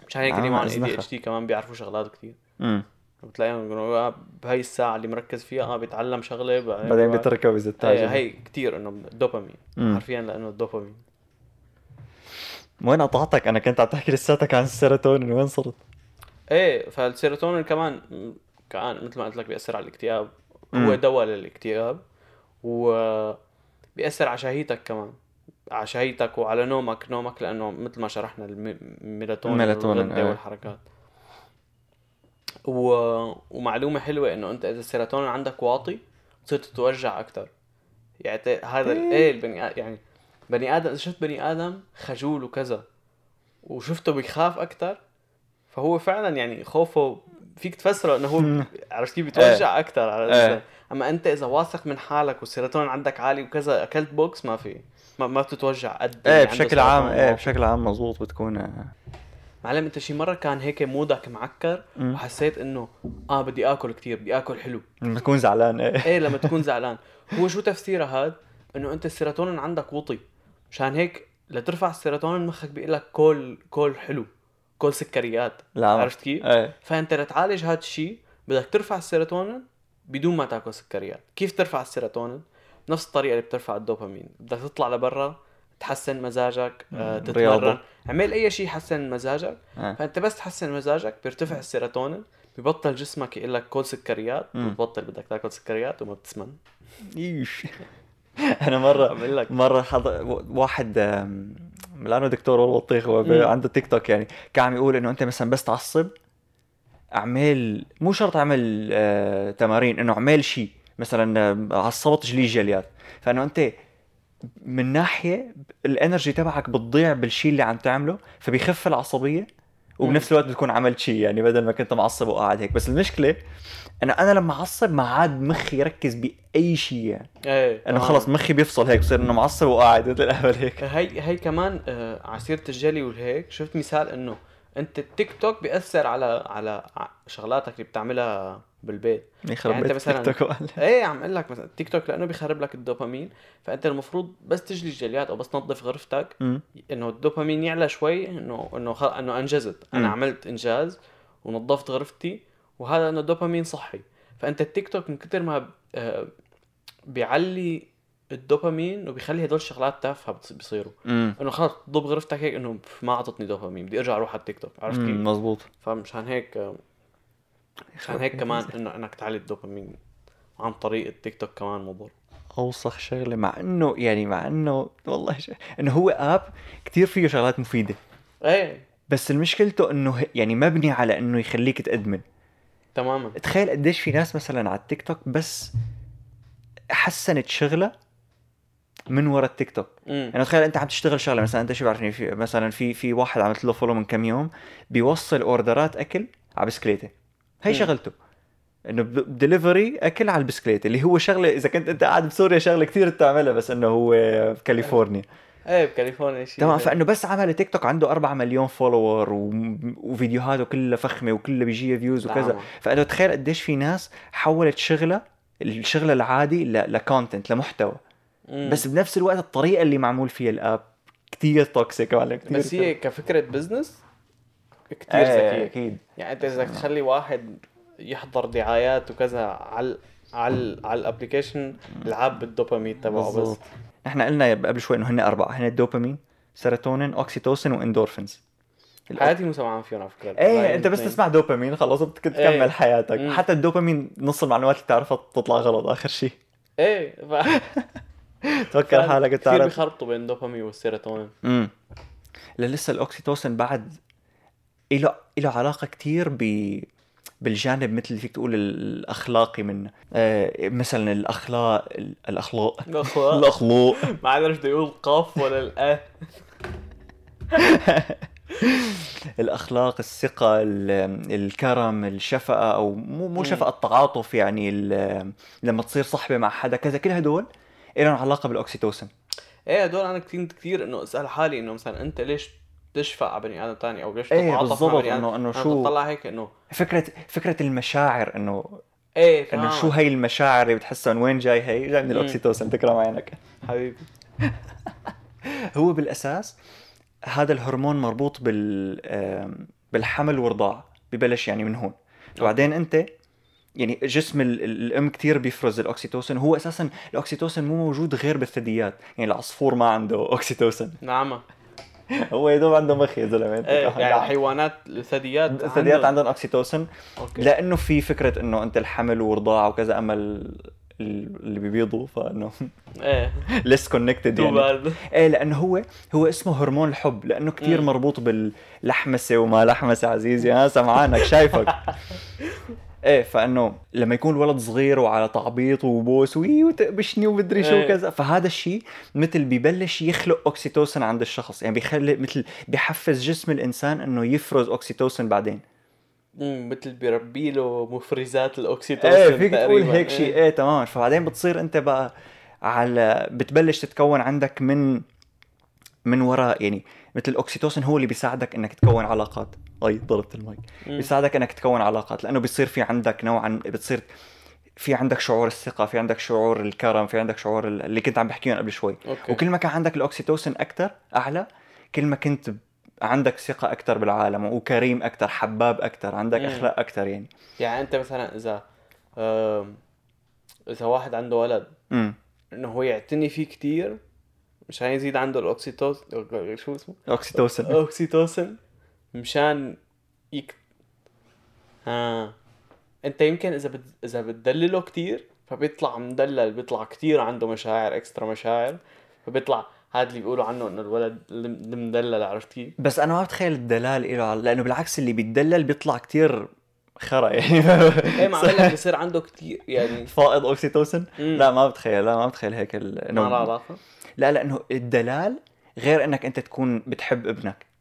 مشان هيك
عم
اللي معهم اي دي
أزنخها.
اتش دي كمان بيعرفوا شغلات كثير
امم
بتلاقيهم يقولوا آه، بهي الساعة اللي مركز فيها اه بيتعلم شغلة بعدين
بعدين
بيروح-
بيتركها وبيزيد
هي,
تعجن
إيه، هي كثير انه دوبامين
مم.
حرفيا لانه الدوبامين
وين قطعتك انا كنت عم تحكي لساتك عن السيروتونين وين صرت؟
ايه فالسيروتونين كمان م- كان مثل ما قلت لك بياثر على الاكتئاب هو
مم.
دواء للاكتئاب و بياثر على شهيتك كمان على شهيتك وعلى نومك نومك لانه مثل ما شرحنا الم- الميلاتونين
الميلاتونين،
والغدة
إيه.
والحركات و... ومعلومه حلوه انه انت اذا السيروتونين عندك واطي بتصير تتوجع اكثر يعني ت- هذا
إيه.
ال- ايه البني آدم يعني بني ادم اذا شفت بني ادم خجول وكذا وشفته بيخاف اكثر فهو فعلا يعني خوفه فيك تفسره انه هو
مم.
عرفت كيف بتوجع اكثر على
إيه.
اما انت اذا واثق من حالك والسيروتونين عندك عالي وكذا اكلت بوكس ما في ما, ما بتتوجع قد اللي
ايه
يعني عنده
بشكل عام
سيروتونين
ايه
واطي.
بشكل عام مزبوط بتكون آه.
معلم انت شي مره كان هيك مودك معكر
مم.
وحسيت انه اه بدي اكل كتير بدي اكل حلو
بتكون زعلان ايه
ايه لما تكون زعلان هو شو تفسيره هاد انه انت السيروتونين عندك وطي مشان هيك لترفع السيروتونين مخك بيقول لك كل كل حلو كل سكريات
لا
عرفت كيف؟
ايه
فانت لتعالج هاد الشيء بدك ترفع السيروتونين بدون ما تاكل سكريات كيف ترفع السيروتونين نفس الطريقه اللي بترفع الدوبامين بدك تطلع لبرا تحسن مزاجك آه،
مم،
تتمرن
رياضة.
اعمل اي شيء يحسن مزاجك
إيه.
فانت بس تحسن مزاجك بيرتفع السيروتونين ببطل جسمك يقول لك كل سكريات
مم.
بتبطل بدك تاكل سكريات وما بتسمن
ايش انا مره
بقول لك
مره حض... واحد آم، لانه دكتور والله بطيخ هو ب-
مم.
عنده تيك توك يعني كان عم يقول انه انت مثلا بس تعصب اعمل مو شرط اعمل آه... تمارين انه اعمل شيء مثلا آم، عصبت جلي جليات فانه انت من ناحيه الانرجي تبعك بتضيع بالشيء اللي عم تعمله فبيخف العصبيه وبنفس الوقت بتكون عملت شيء يعني بدل ما كنت معصب وقاعد هيك بس المشكله انه انا لما اعصب ما عاد مخي يركز باي شيء يعني
ايه
انه
تمام.
خلص مخي بيفصل هيك بصير انه معصب وقاعد مثل الاهبل هيك
هي هي كمان آه، على سيره الجلي والهيك شفت مثال انه انت التيك توك بياثر على على ع- شغلاتك اللي بتعملها بالبيت
يخرب
يعني أنت
بيت
مثلاً-
تيك توك وقال.
ايه عم اقول لك مثلا التيك توك لانه بيخرب لك الدوبامين فانت المفروض بس تجلي الجليات او بس تنظف غرفتك
أمم.
انه الدوبامين يعلى شوي انه انه خل... انه انجزت انا
مم.
عملت انجاز ونظفت غرفتي وهذا انه الدوبامين صحي فانت التيك توك من كتر ما ب- آه، بيعلي الدوبامين وبيخلي هدول الشغلات تافهه بتص- بيصيروا
أمم.
انه خلص تضب غرفتك هيك انه بف- ما اعطتني دوبامين بدي ارجع اروح على التيك توك عرفت كيف؟
أمم، مزبوط
فمشان هيك مشان
يخرب
هيك
بيت.
كمان انه انك تعلي الدوبامين عن طريق التيك توك كمان مضر
اوسخ شغله مع انه يعني مع انه والله ش... انه هو اب كتير فيه شغلات مفيده
ايه
بس مشكلته انه ه- يعني مبني على انه يخليك تادمن
تماما
تخيل قديش في ناس مثلا على التيك توك بس حسنت شغله من ورا التيك توك
امم
يعني تخيل انت عم تشتغل شغله مثلا انت شو بعرفني في مثلا في في واحد عملت له فولو من كم يوم بيوصل اوردرات اكل على بسكليته هي
مم.
شغلته انه دليفري اكل على البسكليت اللي هو شغله اذا كنت انت قاعد بسوريا شغله كثير بتعملها بس انه هو بكاليفورنيا
ايه بكاليفورنيا شيء
تمام
زي-
فانه بس عمل تيك توك عنده 4 مليون فولور و... وفيديوهاته كلها فخمه وكلها بيجيها فيوز وكذا
نعم.
فانه تخيل قديش في ناس حولت شغله الشغل العادي ل... لكونتنت لمحتوى
مم.
بس بنفس الوقت الطريقه اللي معمول فيها الاب كثير توكسيك وعلى كثير
بس هي كفكره بزنس كثير
آه،
ذكيه
اكيد
يعني انت اذا بدك تخلي واحد يحضر دعايات وكذا على على على الابلكيشن العاب بالدوبامين تبعه بس
بالضبط نحن قلنا قبل شوي انه هن اربعه هن الدوبامين سيروتونين اوكسيتوسين واندورفينز الأو-
حياتي مو سمعان فيهم على فكره
ايه انت بس
الاثنين.
تسمع دوبامين خلص بتكمل
إيه.
تكمل حياتك
مم.
حتى الدوبامين نص المعلومات اللي بتعرفها بتطلع غلط اخر شيء
ايه ف...
توكل على حالك
كثير
بتعرف
بيخربطوا بين الدوبامين والسيروتونين
امم لا لسه الاوكسيتوسين بعد له له علاقه كثير ب بالجانب مثل اللي فيك تقول الاخلاقي منه آه مثلا الاخلاق الاخلاق الاخلاق
ما عاد عرفت يقول قاف ولا الاه
الاخلاق الثقه ال- الكرم الشفقه او مو مو
مم.
شفقه التعاطف يعني ال- لما تصير صحبه مع حدا كذا كل هدول لهم علاقه بالاوكسيتوسين
ايه هدول انا كنت كثير انه اسال حالي انه مثلا انت ليش تشفق على بني ادم ثاني او ليش
إيه،
تتعاطف مع
بالضبط،
بني ادم
إنه- إنه
أنا
شو-
بتطلع هيك انه
فكره فكره المشاعر انه
ايه
انه
فاهم.
شو هي المشاعر اللي بتحسها من وين جاي هي جاي من
مم.
الاوكسيتوسين تكرم عينك
حبيبي
هو بالاساس هذا الهرمون مربوط بال آم، بالحمل والرضاعه ببلش يعني من هون وبعدين انت يعني جسم ال- ال- الام كثير بيفرز الاوكسيتوسين هو اساسا الاوكسيتوسين مو موجود غير بالثدييات يعني العصفور ما عنده اوكسيتوسين
نعمه
هو يا دوب عنده مخ يا زلمه
ايه
نعم.
نعم. يعني الحيوانات الثدييات
الثدييات
عندهم-
عندهم اوكسيتوسين
اوكي لا
لانه في فكره انه انت الحمل والرضاعه وكذا اما ال- ال- اللي بيبيضوا فانه
ايه
ليس كونكتد
تو
يعني
باد
ايه لانه هو هو اسمه هرمون الحب لانه كثير
مم.
مربوط باللحمسه وما لحمسه عزيزي ها سمعانك شايفك ايه فانه لما يكون الولد صغير وعلى تعبيط وبوس وي وتقبشني ومدري شو
إيه.
وكذا فهذا الشيء مثل ببلش يخلق اوكسيتوسن عند الشخص يعني بيخلي مثل بحفز جسم الانسان انه يفرز اوكسيتوسن بعدين
مثل بيربي له مفرزات الاوكسيتوسين
ايه فيك تقول
تقريباً. إيه.
هيك شيء ايه تمام فبعدين بتصير انت بقى على بتبلش تتكون عندك من من وراء يعني مثل الاوكسيتوسين هو اللي بيساعدك انك تكون علاقات اي ضربت المايك
مم.
بيساعدك انك تكون علاقات لانه بيصير في عندك نوعا بتصير في عندك شعور الثقه في عندك شعور الكرم في عندك شعور ال- اللي كنت عم بحكيهم قبل شوي
اوكي
وكل ما كان عندك الاوكسيتوسين اكثر اعلى كل ما كنت ب- عندك ثقه اكثر بالعالم وكريم اكثر حباب اكثر عندك
مم.
اخلاق اكثر يعني
يعني انت مثلا اذا آم، اذا واحد عنده ولد
امم
انه هو يعتني فيه كتير مشان يزيد عنده الاوكسيتوسين شو اسمه
اوكسيتوسين
اوكسيتوسين مشان يك ها انت يمكن اذا بت... اذا بتدلله كتير فبيطلع مدلل بيطلع كتير عنده مشاعر اكسترا مشاعر فبيطلع هذا اللي بيقولوا عنه انه الولد الم- المدلل عرفت كيف؟
بس انا ما بتخيل الدلال له لانه بالعكس اللي بيتدلل بيطلع كتير خرا يعني
ايه ما عم بقول لك بصير عنده كتير يعني
فائض اوكسيتوسين
مم.
لا ما بتخيل لا ما بتخيل هيك ال...
ما
إنه-
لها علاقه
لا لانه الدلال غير انك انت تكون بتحب ابنك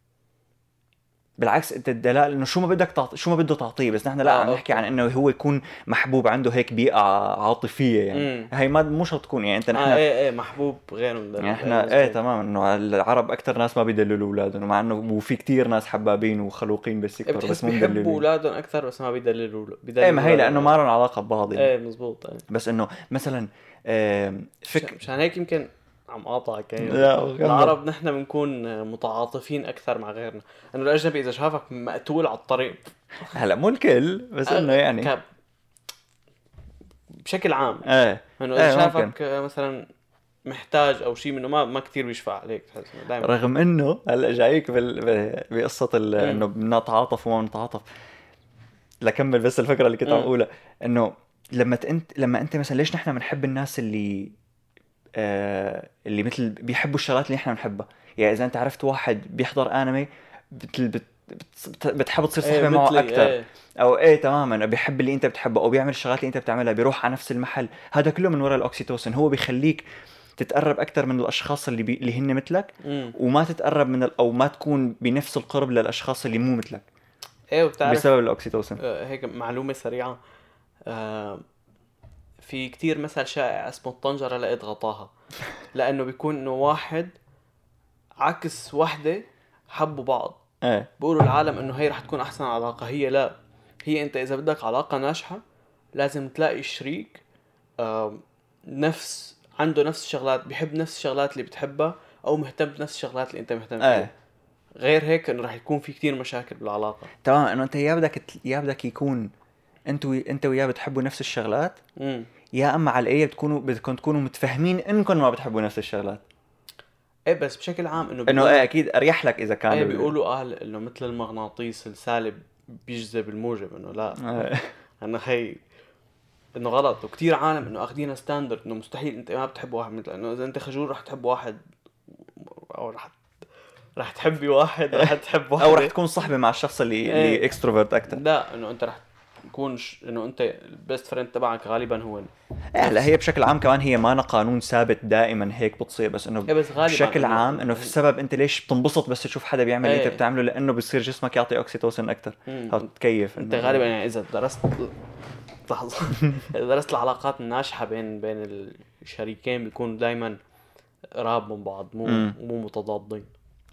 بالعكس انت الدلال انه شو ما بدك تعطي شو ما بده تعطيه بس نحن لا
آه،
عم نحكي عن انه هو يكون محبوب عنده هيك بيئه عاطفيه يعني
مم.
هي ما مو شرط تكون يعني انت نحن
اه ايه ايه محبوب غير من
يعني احنا ايه تمام انه العرب اكثر ناس ما بيدللوا اولادهم مع انه وفي كتير ناس حبابين وخلوقين بالسيكتور
بتحس
بس مو
بيحبوا
مدللين
اولادهم اكثر بس ما بيدللوا بيدللوا
ايه ما هي لانه ما لهم علاقه ببعض يعني.
ايه مزبوط ايه
بس انه مثلا آم،
فك...
فك
مشان هيك يمكن عم قاطعك يعني
لا، كمل.
العرب نحن بنكون متعاطفين اكثر مع غيرنا انه الاجنبي اذا شافك مقتول على الطريق
هلا مو الكل بس
أه،
انه يعني
ك... بشكل عام
ايه
انه اذا
إيه،
شافك مثلا محتاج او شيء منه ما ما كثير بيشفع عليك دائما
رغم انه هلا جايك بال... ب- بقصه ال...
مم.
انه بنتعاطف وما بنتعاطف لكمل بس الفكره اللي كنت عم
مم.
اقولها انه لما ت- انت لما انت مثلا ليش نحن بنحب الناس اللي آه... اللي مثل بيحبوا الشغلات اللي نحن بنحبها يعني اذا انت عرفت واحد بيحضر انمي بتل... بت... بت... بتحب
إيه،
تصير صحبه معه اكثر او ايه تماما بيحب اللي انت بتحبه او بيعمل الشغلات اللي انت بتعملها بيروح على نفس المحل هذا كله من وراء الاوكسيتوسن هو بيخليك تتقرب اكثر من الاشخاص اللي بي... اللي هن مثلك
ايه,
وما تتقرب من ال... او ما تكون بنفس القرب للاشخاص اللي مو مثلك
إيه وبتعرف
بسبب الاوكسيتوسن
آه، هيك معلومة سريعة آه، في كتير مثل شائع اسمه الطنجرة لقيت غطاها لأنه بيكون إنه واحد عكس وحدة حبوا بعض
ايه
بيقولوا العالم إنه هي رح تكون أحسن علاقة هي لا هي أنت إذا بدك علاقة ناجحة لازم تلاقي شريك آه، نفس عنده نفس الشغلات بيحب نفس الشغلات اللي بتحبها أو مهتم بنفس الشغلات اللي أنت مهتم فيها
ايه
غير هيك إنه رح يكون في كتير مشاكل بالعلاقة
تمام انه انت يا بدك ت- يا بدك يكون انت و... انت وياه بتحبوا نفس الشغلات
مم.
يا اما على الاقل بتكونوا بدكم تكونوا متفاهمين انكم ما بتحبوا نفس الشغلات
ايه بس بشكل عام انه
انه
بيقولوا-
ايه اكيد اريح لك اذا كان
ايه بيقولوا قال انه مثل المغناطيس السالب بيجذب الموجب انه لا
إيه.
انه هي انه غلط وكثير عالم انه اخذينها ستاندرد انه مستحيل انت ما بتحب واحد مثل انه اذا انت خجول رح تحب واحد او رح رح تحبي واحد رح تحب واحد
او إيه. رح تكون صحبه مع الشخص اللي اللي
إيه.
اكستروفرت اكثر
لا انه انت رح تكون ش... انه انت البيست فريند تبعك غالبا هو
إيه، هلا هي بشكل عام كمان هي ما لها قانون ثابت دائما هيك بتصير بس
ايه
انه
بس غالبا
بشكل عام انه في السبب انت ليش بتنبسط بس تشوف حدا بيعمل اللي انت
إيه.
بتعمله لانه بصير جسمك يعطي اوكسيتوسن اكثر
مم.
فبتكيف
انت غالبا يعني اذا درست لحظه اذا درست العلاقات الناجحه بين بين الشريكين بيكونوا دائما قراب من بعض مو
مم.
مو متضادين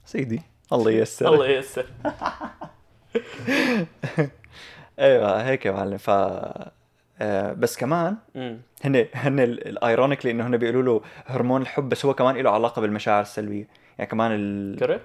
سيدي الله ييسر
الله ييسر
ايوه هيك يا معلم ف آه، بس كمان
مم.
هن هن الايرونيكلي انه هن بيقولوا له هرمون الحب بس هو كمان له علاقه بالمشاعر السلبيه يعني كمان ال...
كرهت؟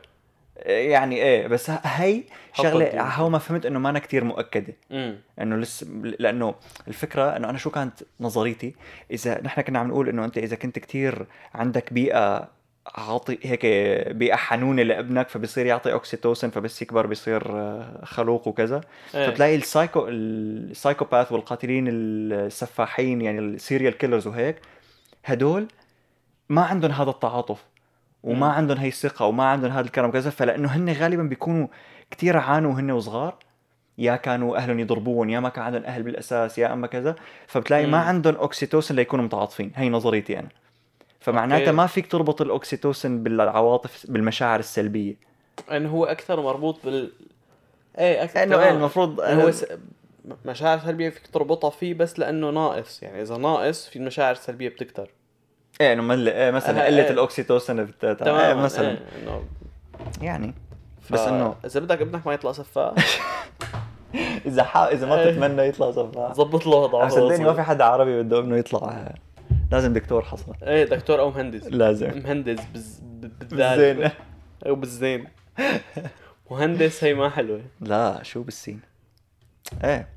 يعني ايه بس ه- هي
حطت-
شغله هو ما فهمت انه ما أنا كتير مؤكده
مم.
انه لسه لانه الفكره انه انا شو كانت نظريتي اذا نحن كنا عم نقول انه انت اذا كنت كتير عندك بيئه عاطي هيك بيئه حنونه لابنك فبصير يعطي اوكسيتوسن فبس يكبر بصير آه، خلوق وكذا
إيه.
فبتلاقي السايكو السايكوباث والقاتلين السفاحين يعني السيريال كيلرز وهيك هدول ما عندهم هذا التعاطف وما
مم.
عندهم هي الثقه وما عندهم هذا الكلام وكذا فلانه هن غالبا بيكونوا كتير عانوا هن وصغار يا كانوا اهلهم يضربون يا ما كان عندهم اهل بالاساس يا اما كذا فبتلاقي ما
مم.
عندهم اوكسيتوسن ليكونوا متعاطفين هي نظريتي انا فمعناتها
أوكي.
ما فيك تربط الاوكسيتوسن بالعواطف بالمشاعر السلبيه
انه يعني هو اكثر مربوط بال ايه اكثر
لانه إيه،
تمام.
المفروض
هو س... م- مشاعر سلبيه فيك تربطها فيه بس لانه ناقص يعني اذا ناقص في المشاعر السلبيه بتكتر
ايه انه مل... إيه مثلا
آه،
قله
إيه.
الاوكسيتوسن بت...
تماما
إيه مثلا إيه.
إيه، انه
يعني بس إنه-
اذا بدك ابنك ما يطلع سفاح
اذا حا... اذا ما
إيه.
بتتمنى يطلع صفاح
ظبط له وضعه
صدقني ما في حدا عربي بده ابنه يطلع لازم دكتور حصل
ايه دكتور او مهندس
لازم
مهندس بالز... ب- بالذات
بالزين
او بالزين مهندس هي ما حلوه
لا شو بالسين ايه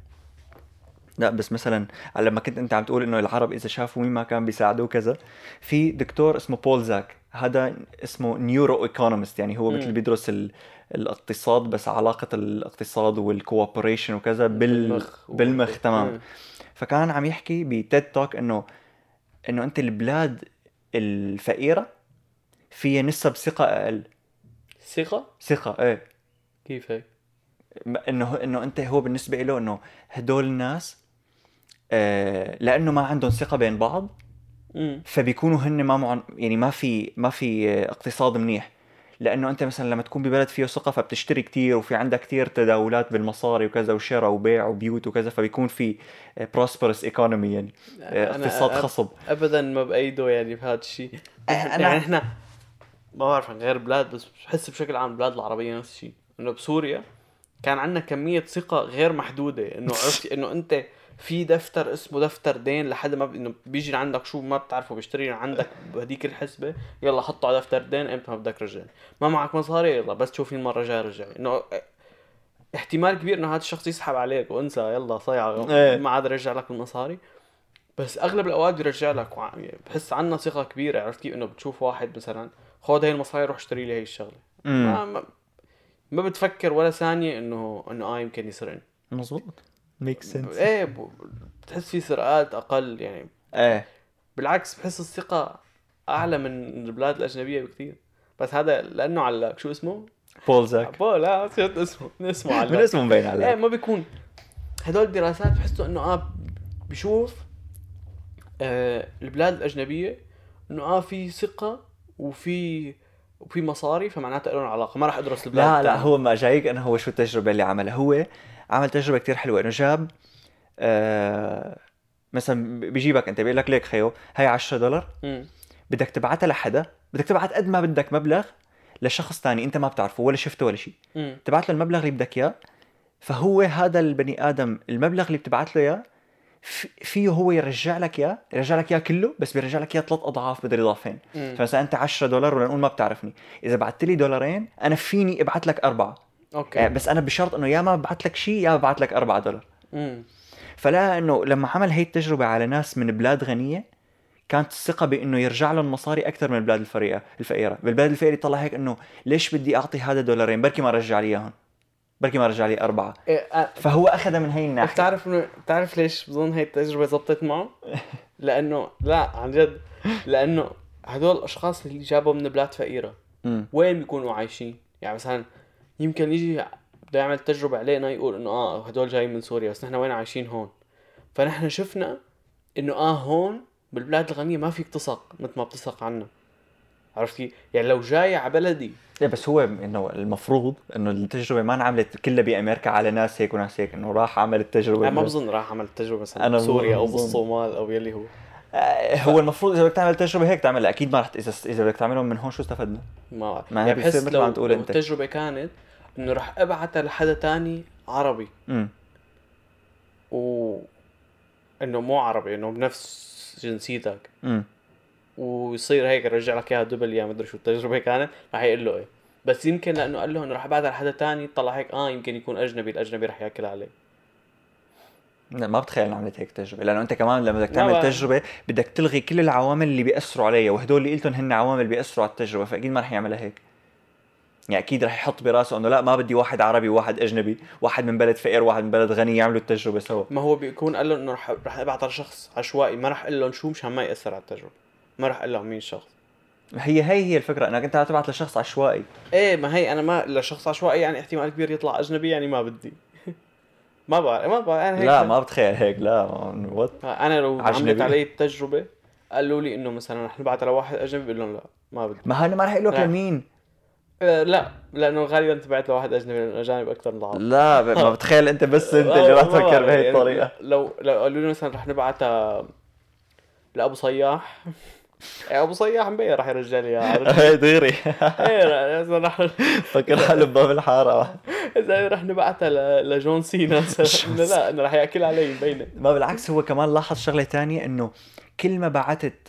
لا بس مثلا لما كنت انت عم تقول انه العرب اذا شافوا مين ما كان بيساعدوه كذا في دكتور اسمه بول زاك هذا اسمه نيورو ايكونومست يعني هو
مم.
مثل بيدرس ال... الاقتصاد بس علاقه الاقتصاد والكوبريشن وكذا بال... بالمخ تمام
مم.
فكان عم يحكي بتيد توك انه انه انت البلاد الفقيره فيها نسب ثقه اقل
ثقه
ثقه ايه
كيف هيك
م- انه انه انت هو بالنسبه له انه هدول الناس آه لانه ما عندهم ثقه بين بعض
مم.
فبيكونوا هن ما معن يعني ما في ما في آه، اقتصاد منيح لانه انت مثلا لما تكون ببلد فيه ثقه فبتشتري كتير وفي عندك كتير تداولات بالمصاري وكذا وشراء وبيع وبيوت وكذا فبيكون في بروسبرس ايكونومي يعني آه،
أنا
اقتصاد
أب-
خصب
ابدا ما بايده يعني بهذا الشيء
أنا-
يعني احنا ما بعرف عن غير بلاد بس بحس بشكل عام البلاد العربيه نفس الشيء انه بسوريا كان عندنا كميه ثقه غير محدوده انه عرفت انه انت في دفتر اسمه دفتر دين لحد ما ب... انه بيجي لعندك شو ما بتعرفه بيشتري عندك بهديك الحسبه يلا حطه على دفتر دين امتى ما بدك رجع ما معك مصاري يلا بس تشوف المره الجايه رجع انه إيه، احتمال كبير انه هذا الشخص يسحب عليك وانسى يلا صيعه
إيه.
ما عاد رجع لك المصاري بس اغلب الاوقات بيرجع لك وع- يعني بحس عنا ثقه كبيره عرفت كيف انه بتشوف واحد مثلا خذ هي المصاري روح اشتري لي هي الشغله ما,
امم
ما, ما بتفكر ولا ثانيه انه انه اه يمكن يسرقني
مظبوط ميك سنس
ايه ب- بتحس في سرقات اقل يعني
ايه
بالعكس بحس الثقه اعلى من البلاد الاجنبيه بكثير بس هذا لانه علاق شو اسمه؟
بولزاك
بول لا شو اسمه اسمه
من
علاق
اسمه مبين
ايه
عليه
ما بيكون هدول الدراسات بحسوا انه اه بشوف آه البلاد الاجنبيه انه اه في ثقه وفي وفي مصاري فمعناتها لهم علاقه ما راح ادرس البلاد
لا لا
التانية.
هو ما جايك انا هو شو التجربه اللي عملها هو عمل تجربه كتير حلوه انه جاب آه مثلا بيجيبك انت بيقول لك ليك خيو هي 10 دولار
مم.
بدك تبعتها لحدا بدك تبعت قد ما بدك مبلغ لشخص تاني انت ما بتعرفه ولا شفته ولا شيء
مم.
تبعت له المبلغ اللي بدك اياه فهو هذا البني ادم المبلغ اللي بتبعت له اياه في- فيه هو يرجع لك اياه يرجع لك اياه كله بس بيرجع لك اياه ثلاث اضعاف بدل اضافين
مم.
فمثلا انت 10 دولار ولنقول ما بتعرفني اذا بعت لي دولارين انا فيني ابعت لك اربعه آه،
اوكي
بس انا بشرط انه يا ما ببعت لك شيء يا ببعت لك 4 دولار
مم.
فلا انه لما عمل هي التجربه على ناس من بلاد غنيه كانت الثقه بانه يرجع لهم مصاري اكثر من البلاد الفقيره الفقيره بالبلاد الفقيره طلع هيك انه ليش بدي اعطي هذا دولارين بركي ما رجع لي اياهم بركي ما رجع لي اربعه
إيه آه
فهو اخذها من هي الناحيه
بتعرف انه بتعرف ليش بظن هي التجربه زبطت معه؟ لانه لا عن جد لانه هدول الاشخاص اللي جابوا من بلاد فقيره
مم.
وين بيكونوا عايشين يعني مثلا يمكن يجي بده يعمل تجربة علينا يقول انه اه هدول جايين من سوريا بس نحن وين عايشين هون فنحن شفنا انه اه هون بالبلاد الغنية ما في اقتصاق مثل ما بتسق عنا عرفت كيف؟ يعني لو جاي على بلدي
إيه بس هو انه المفروض انه التجربه ما انعملت كلها بامريكا على ناس هيك وناس هيك انه راح عمل التجربه
انا ما بظن راح اعمل تجربة مثلا
أنا
بسوريا او
بظن- بظن.
بالصومال او يلي هو
آه، هو المفروض اذا بدك تعمل تجربه هيك تعملها اكيد ما رح اذا اذا بدك تعملهم من هون شو استفدنا
ما بعرف
ما هي
يعني
بتصير
بحس
مثل
لو,
ما عم تقول
لو
أنت.
التجربة كانت انه راح ابعتها لحدا تاني عربي
امم
و انه مو عربي انه بنفس جنسيتك
امم
ويصير هيك يرجع لك اياها دبل يا مدري شو التجربه كانت رح يقول له ايه بس يمكن لانه قال له انه رح ابعتها لحدا تاني طلع هيك اه يمكن يكون اجنبي الاجنبي رح ياكل عليه
لا ما بتخيل إني عملت هيك تجربه لانه انت كمان لما بدك
لا
تعمل
بقى.
تجربه بدك تلغي كل العوامل اللي بياثروا عليها وهدول اللي قلتهم هن عوامل بياثروا على التجربه فاكيد ما رح يعملها هيك يعني اكيد رح يحط براسه انه لا ما بدي واحد عربي وواحد اجنبي واحد من بلد فقير واحد من بلد غني يعملوا التجربه سوا
ما هو بيكون قال له انه رح رح ابعتها لشخص عشوائي ما رح اقول لهم شو مشان ما ياثر على التجربه ما رح اقول لهم مين الشخص
هي هي هي الفكره انك انت عم تبعت لشخص عشوائي
ايه ما هي انا ما لشخص عشوائي يعني احتمال كبير يطلع اجنبي يعني ما بدي ما بعرف ما بعرف انا هيك
لا ما بتخيل هيك لا وات
انا لو
عجنبي.
عملت علي التجربه قالوا لي انه مثلا رح نبعتها لواحد اجنبي بقول لهم لا ما بدي
ما هلا ما رح يقول لك
لا.
لمين
آه، لا لانه غالبا تبعت لواحد اجنبي لانه الاجانب اكثر من العرب
لا ب- ما بتخيل انت بس انت اللي
آه،
رح
ما بعرف
تفكر بهي
يعني
الطريقه
لو لو قالوا لي مثلا رح نبعتها لابو صياح إيه، ابو صياح مبين رح يرجع لي اياها عرفت؟
هي دغري
إيه، رح- مثلا رح
فكر حاله بباب الحاره
إذا رح نبعتها ل- لجون سينا مثلا إنه لا انه رح ياكل علي مبينه
ما بالعكس هو كمان لاحظ شغله تانية انه كل ما بعتت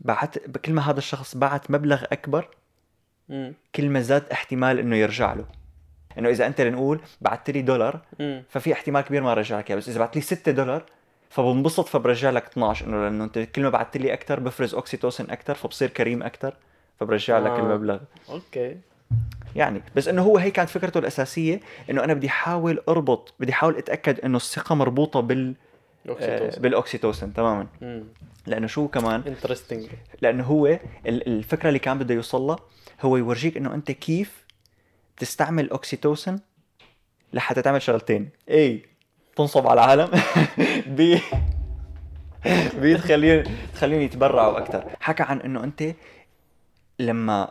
بعت كل ما هذا الشخص بعت مبلغ اكبر
أمم،
كل ما زاد احتمال انه يرجع له انه اذا انت لنقول بعت لي دولار
أمم.
ففي احتمال كبير ما رجع لك إياه، بس اذا بعت لي 6 دولار فبنبسط فبرجع لك 12 انه لانه انت كل ما بعت لي اكثر بفرز اوكسيتوسن اكثر فبصير كريم اكثر فبرجع لك
آه.
المبلغ
اوكي
يعني بس انه هو هي كانت فكرته الاساسيه انه انا بدي احاول اربط بدي احاول اتاكد انه الثقه مربوطه بال آه،
اوكسيتوسن
بالاوكسيتوسن تماما لانه شو كمان
انترستنج
لانه هو ال- الفكره اللي كان بده يوصلها هو يورجيك انه انت كيف تستعمل اوكسيتوسن لحتى تعمل شغلتين اي تنصب على العالم بي بي تخليهم تخليهم يتبرعوا اكثر حكى عن انه انت لما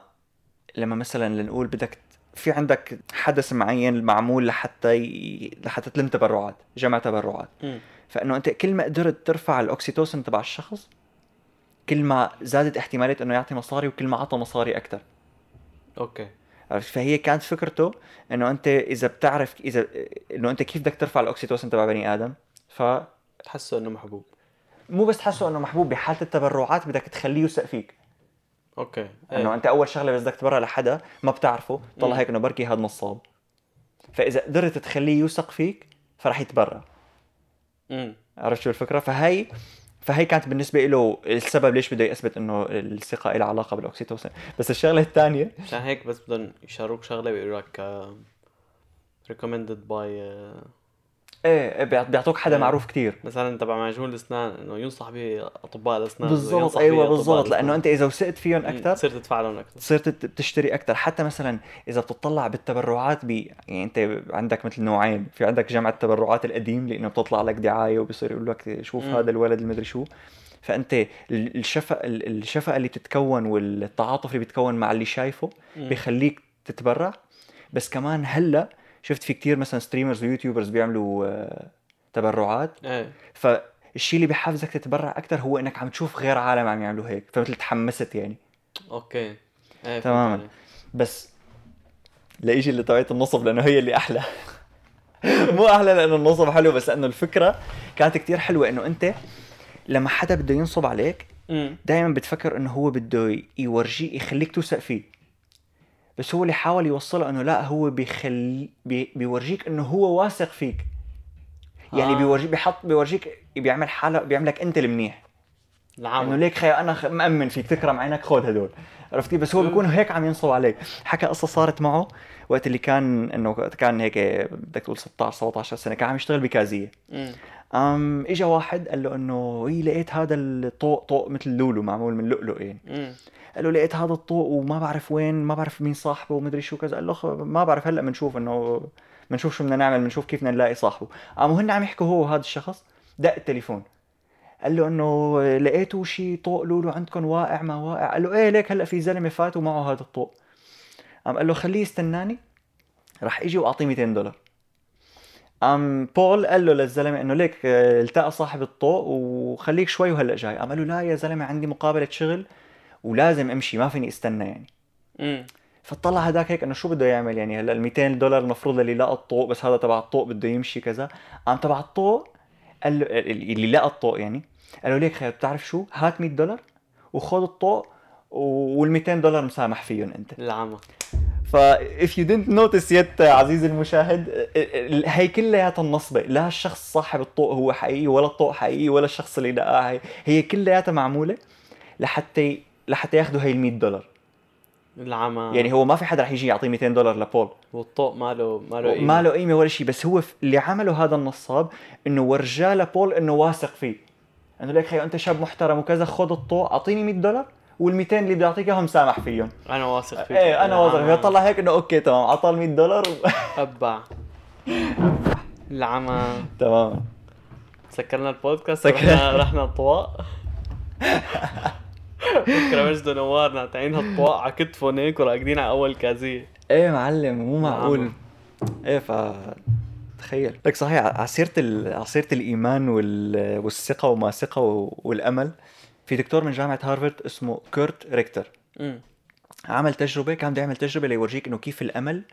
لما مثلا لنقول بدك ت- في عندك حدث معين معمول لحتى ي... لحتى تلم تبرعات جمع تبرعات
مم.
فانه انت كل ما قدرت ترفع الاوكسيتوسن تبع الشخص كل ما زادت احتماليه انه يعطي مصاري وكل ما عطى مصاري اكثر
اوكي
عرفت فهي كانت فكرته انه انت اذا بتعرف اذا انه انت كيف بدك ترفع الاوكسيتوسن تبع بني ادم فمو
تحسه انه محبوب
بس تحسه انه محبوب بحاله التبرعات بدك تخليه يثق فيك
اوكي
انه
ايه.
انت اول شغله بس بدك تبرع لحدا ما بتعرفه طلع
مم.
هيك انه بركي هذا نصاب فاذا قدرت تخليه يوثق فيك فرح يتبرع
مم.
عرفت شو الفكره فهي فهي كانت بالنسبه له السبب ليش بده يثبت انه الثقه لها علاقه بالاوكسيتوسين بس الشغله الثانيه
عشان هيك بس بدهم يشاروك شغله بيقولوا لك آه، ريكومندد باي
ايه إيه، بيعط- بيعطوك حدا
إيه.
معروف كتير
مثلا تبع معجون الاسنان انه ينصح به اطباء الاسنان
بالضبط ايوه بالضبط لانه انت اذا وثقت فيهم اكثر
تصير تدفع لهم اكثر
صرت تت- بتشتري اكثر حتى مثلا اذا بتطلع بالتبرعات بي يعني انت عندك مثل نوعين في عندك جمع التبرعات القديم لانه بتطلع لك دعايه وبصير يقول لك شوف
مم.
هذا الولد المدري شو فانت ال- الشفقه ال- الشفقه اللي بتتكون والتعاطف اللي بيتكون مع اللي شايفه
مم.
بيخليك تتبرع بس كمان هلا شفت في كتير مثلا ستريمرز ويوتيوبرز بيعملوا آه، تبرعات
ايه
فالشيء اللي بحفزك تتبرع اكثر هو انك عم تشوف غير عالم عم يعملوا هيك فمثل تحمست يعني
اوكي ايه فهمت
تماماً.
عليك.
بس لايجي اللي طريقه النصب لانه هي اللي احلى مو احلى لانه النصب حلو بس لانه الفكره كانت كتير حلوه انه انت لما حدا بده ينصب عليك
مم.
دائما بتفكر انه هو بده يورجيك يخليك توثق فيه بس هو اللي حاول يوصله انه لا هو بيخلي بي بيورجيك انه هو واثق فيك يعني
آه.
بيورجيك بيحط بيورجيك بيعمل حاله بيعملك انت المنيح انه
العمل
ليك خي انا خ- مأمن فيك تكرم عينك خذ هدول عرفتي بس هو بيكون هيك عم ينصب عليك حكى قصه صارت معه وقت اللي كان انه وقت كان هيك بدك تقول 16 17 سنه كان عم يشتغل بكازيه
مم.
ام اجى واحد قال له انه اي لقيت هذا الطوق طوق مثل لولو معمول من لؤلؤ يعني
مم.
قال له لقيت "إيه هذا الطوق وما بعرف وين ما بعرف مين صاحبه ومدري شو كذا قال له خ- ما بعرف هلا بنشوف انه بنشوف شو بدنا نعمل بنشوف كيف بدنا نلاقي صاحبه قاموا هن عم يحكوا هو وهذا الشخص دق التليفون قال له انه لقيتوا شي طوق لولو عندكم واقع ما واقع قال له ايه ليك هلا في زلمه فات ومعه هذا الطوق قام قال له خليه يستناني رح اجي واعطيه 200 دولار قام بول قال له للزلمه انه ليك آه، التقى صاحب الطوق وخليك شوي وهلا جاي قام قال له لا يا زلمه عندي مقابله شغل ولازم امشي ما فيني استنى يعني
مم.
فطلع هداك هيك انه شو بده يعمل يعني هلا ال 200 دولار المفروض اللي لقى الطوق بس هذا تبع الطوق بده يمشي كذا قام تبع الطوق قال له اللي لقى الطوق يعني قال له ليك خير بتعرف شو هات 100 دولار وخذ الطوق وال 200 دولار مسامح فيهم انت
العمى
فا if you didn't notice yet عزيزي المشاهد ال- ال- هي كلياتها النصبة لا الشخص صاحب الطوق هو حقيقي ولا الطوق حقيقي ولا الشخص اللي لقاه هي- هي كلياتها معمولة لحتى لحتى ياخذوا هي ال 100 دولار
العمى
يعني هو ما في حدا رح يجي يعطيه 200 دولار لبول
والطوق ماله ماله قيمة.
ما له قيمه ولا شيء بس هو ف- اللي عمله هذا النصاب انه ورجاه لبول انه واثق فيه انه ليك خيو انت شاب محترم وكذا خذ الطوق اعطيني 100 دولار وال200 اللي بدي اعطيك اياهم سامح فيهم
انا واثق فيك يعني
ايه انا واثق
العمى.
طلع هيك انه اوكي تمام عطاه ال 100 دولار و...
ابع العمى
تماما
سكرنا البودكاست
سكر-
رحنا رحنا الطواق بكره مجد ونوار ناطعين هالطواق على كتفهم هيك وراقدين على اول كازيه
ايه معلم مو معقول
معقول.
ايه ف تخيل لك صحيح عسيرة ال... عسيرة الإيمان وال... والثقة وما ثقة و... والأمل في دكتور من جامعة هارفارد اسمه كورت ريكتر
أمم.
عمل تجربة كان بده يعمل تجربة ليورجيك انه كيف الامل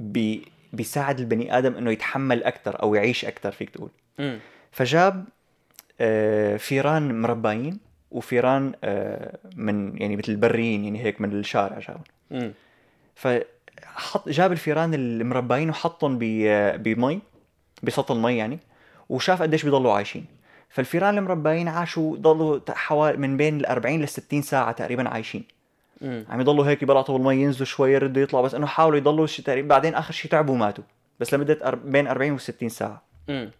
بي بيساعد البني ادم انه يتحمل اكثر او يعيش اكثر فيك تقول
أمم.
فجاب آه، فيران مرباين وفيران آه، من يعني مثل بريين يعني هيك من الشارع جابهم
أمم.
فحط جاب الفيران المرباين وحطهم ب- بمي بسطل مي يعني وشاف قديش بيضلوا عايشين فالفيران المرباين عاشوا ضلوا حوالي من بين ال 40 لل 60 ساعه تقريبا عايشين
أمم.
عم يضلوا هيك بلعطوا بالمي ينزلوا شوي يردوا يطلعوا بس انه حاولوا يضلوا شي تقريبا بعدين اخر شيء تعبوا وماتوا بس لمده أر- بين 40 و 60 ساعه
أمم.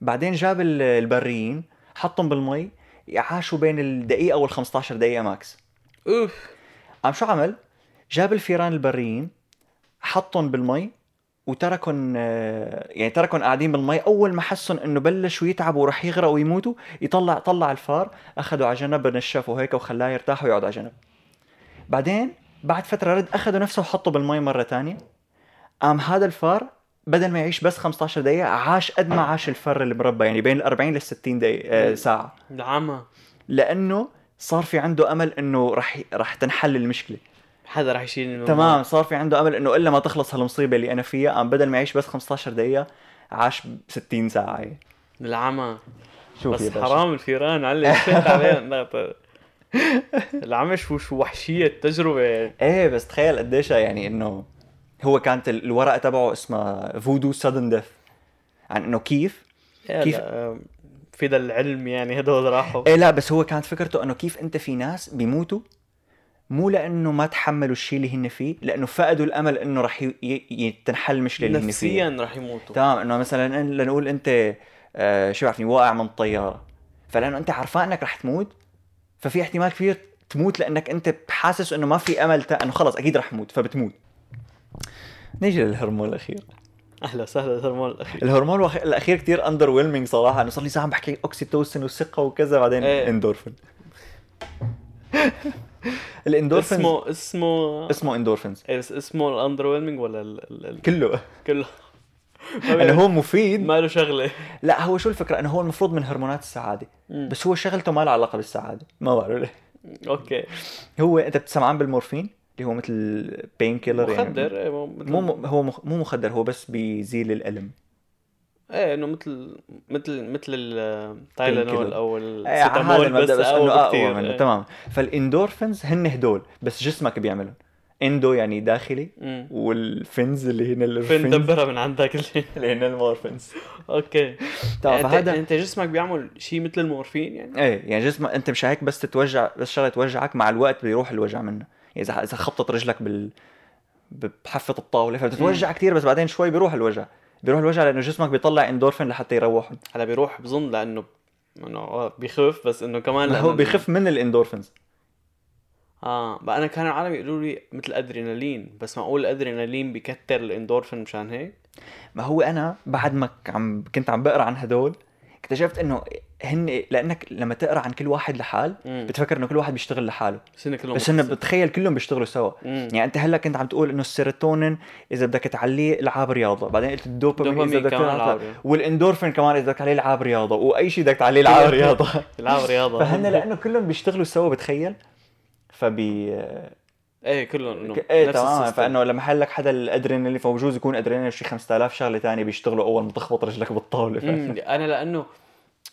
بعدين جاب ال- البريين حطهم بالمي عاشوا بين الدقيقه وال 15 دقيقه ماكس
اوف
عم شو عمل جاب الفيران البريين حطهم بالمي وتركهم آه، يعني تركهم قاعدين بالمي اول ما حسن انه بلشوا يتعبوا ورح يغرقوا ويموتوا يطلع طلع الفار اخذوا على جنب نشفوا هيك وخلاه يرتاح ويقعد على جنب بعدين بعد فتره رد اخذوا نفسه وحطه بالمي مره تانية قام هذا الفار بدل ما يعيش بس 15 دقيقه عاش قد ما عاش الفر المربى يعني بين ال 40 لل 60 دقيقه آه، ساعه
العمى
لانه صار في عنده امل انه رح رح تنحل المشكله
حدا رح يشيل الموضوع.
تمام صار في عنده امل انه الا ما تخلص هالمصيبه اللي انا فيها قام بدل ما يعيش بس 15 دقيقه عاش 60 ساعه يعني.
العمى
شوف يا
بس
باشا.
حرام الفيران علي شد عليهم لا، العمى شو شو وحشيه التجربه يعني
ايه بس تخيل قديش يعني انه هو كانت ال- الورقه تبعه اسمها فودو سادن ديث عن انه يعني كيف كيف-
كيف في ذا العلم يعني هدول راحوا
ايه لا بس هو كانت فكرته انه كيف انت في ناس بيموتوا مو لانه ما تحملوا الشيء اللي هن فيه لانه فقدوا الامل انه رح ي- ي- ي- تنحل المشكله اللي هن فيها
نفسيا رح يموتوا
تمام انه مثلا إن- لنقول انت آه شو بعرفني واقع من الطياره فلانه انت عرفان انك رح تموت ففي احتمال كبير تموت لانك انت حاسس انه ما في امل تا... انه خلص اكيد رح موت فبتموت نيجي للهرمون الاخير
اهلا وسهلا الهرمون الاخير
الهرمون الوخ- الاخير كتير اندر ويلمينج صراحه انا صار لي ساعه عم بحكي اوكسيتوسن وثقه وكذا بعدين
إيه.
اندورفين الاندورفين
اسمه
اسمه
اسمه
اسمه اندورفينز
إيه، بس اسمه الاندر ويلمينج ولا ال... ال... ال...
كله
كله
انه هو مفيد
ما له شغله
لا هو شو الفكره انه هو المفروض من هرمونات السعاده
مم.
بس هو شغلته ما لها علاقه بالسعاده ما بعرف ليه
اوكي
هو انت بتسمعان بالمورفين اللي هو مثل بين كيلر
مخدر
يعني
إيه، مو مثل-
مو مو- هو مخ- مو مخدر هو بس بيزيل الالم
ايه انه مثل مثل مثل التايلانول
Painkiller.
او
إيه، على
السيتامول
هذا
بس
المبدا بس آه،
اقوى
انه اقوى
بكتير،
منه
إيه.
تمام فالاندورفنز هن هدول بس جسمك بيعملهم اندو يعني داخلي
مم.
والفنز اللي هن
فين
الفنز
دبرها من عندك اللي
اللي هن المورفنز
اوكي
تمام
انت,
فهذا
انت جسمك بيعمل شيء مثل المورفين يعني
ايه يعني جسمك انت مش هيك بس تتوجع بس شغله توجعك مع الوقت بيروح الوجع منه يعني اذا اذا خبطت رجلك بال بحفه الطاوله فبتتوجع كثير بس بعدين شوي بيروح الوجع بيروح الوجع لانه جسمك بيطلع اندورفين لحتى يروحهم
هلا بيروح بظن لانه انه آه، بيخف بس انه كمان
هو
لأنه-
بيخف من الاندورفينز
اه بقى انا كان العالم يقولوا لي مثل ادرينالين بس معقول الادرينالين بكتر الاندورفين مشان هيك
ما هو انا بعد ما ك- عم كنت عم بقرا عن هدول اكتشفت انه هن لانك لما تقرا عن كل واحد لحال
مم.
بتفكر انه كل واحد بيشتغل لحاله
بس هن كلهم
بس انه
مختصين.
بتخيل كلهم بيشتغلوا سوا
مم.
يعني انت هلا كنت عم تقول انه السيروتونين اذا بدك تعليه العاب رياضه بعدين قلت الدوبامين
دوبامين
اذا بدك
كمان
تلعب-
ألعاب رياضة.
والاندورفين كمان اذا بدك عليه العاب رياضه واي شيء بدك تعليه العاب رياضه
بيلعب رياضه
فهن لانه كلهم بيشتغلوا سوا بتخيل فبي
ايه كلهم انه
ك- ايه
نفس
تماما
السيستم.
فانه لما حلك حدا الادرينالين فبجوز يكون ادرينالين شي 5000 شغله ثانيه بيشتغلوا اول ما تخبط رجلك بالطاوله
أمم،
ف...
انا لانه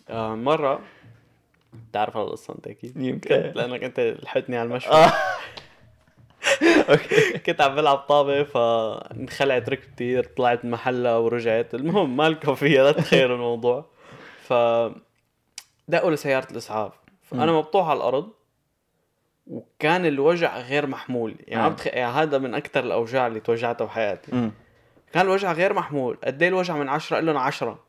آه، مره بتعرف هذا القصه انت اكيد
يمكن.
كنت لانك انت لحقتني على المشفى
آه. اوكي
كنت عم بلعب طابه فانخلعت ركبتي طلعت محلها ورجعت المهم مالكم فيها لا تخيلوا الموضوع ف دقوا لسياره الاسعاف فانا مبطوح على الارض وكان الوجع غير محمول يعني, عم
آه.
بتخ... يعني هذا من اكثر الاوجاع اللي توجعتها بحياتي
أمم.
كان الوجع غير محمول قد ايه الوجع من 10 لهم 10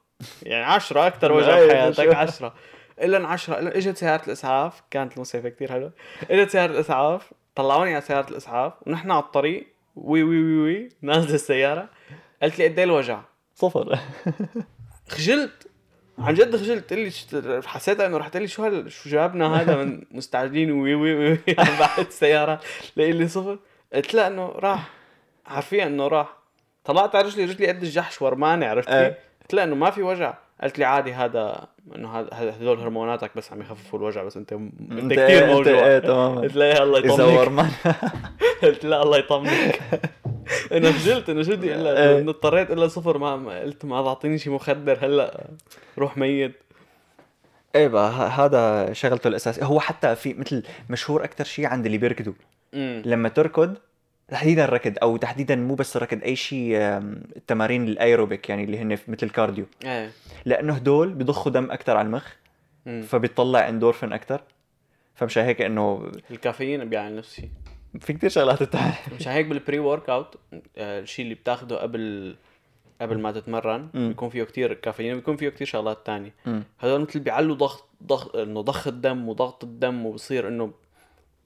يعني 10 اكثر وجع
أيوة،
بحياتك
شو.
10 لهم 10 لهم اجت سياره الاسعاف كانت الموسيقى كثير حلوه اجت سياره الاسعاف طلعوني على سياره الاسعاف ونحن على الطريق وي وي وي وي نازله السياره قالت لي قد ايه الوجع
صفر
خجلت عن جد خجلت قلت لي شت- حسيت انه رح تقول لي شو هال شو جابنا هذا من مستعجلين وي وي وي وي عم بعد السياره لقيت لي صفر قلت لا انه راح حرفيا انه راح طلعت على رجلي رجلي قد الجحش ورمانه عرفتي
إيه.
قلت لها انه ما في وجع قالت لي عادي هذا انه هذا- هذا هذول هرموناتك بس عم يخففوا الوجع بس انت انت كثير
إيه- ايه
موجوع
تماما
قلت لها الله
اذا
يطمنك
ورمان
قلت لا الله يطمنك انا خجلت انا شو بدي الا
إيه.
إنه اضطريت الا صفر ما- ما قلت ما تعطيني شي مخدر هلا روح ميت
ايه بقى ه- هذا شغلته الاساسيه هو حتى في مثل مشهور اكثر شيء عند اللي بيركضوا
امم
لما تركض تحديدا الركض او تحديدا مو بس الركض اي شيء آم، التمارين الايروبيك يعني اللي هن مثل الكارديو
ايه
لانه هدول بضخوا دم اكثر على المخ
أمم.
فبيطلع اندورفين اكثر فمشان هيك انه
الكافيين بيعمل نفس الشيء
في كثير شغلات بتعرف
مشان هيك بالبري ورك اوت آه، الشيء اللي بتاخده قبل قبل ما تتمرن
مم.
بيكون فيه كتير كافيين بيكون فيه كتير شغلات تانية
مم.
هدول مثل بيعلوا ضغط ضغط انه ضخ الدم وضغط الدم وبصير انه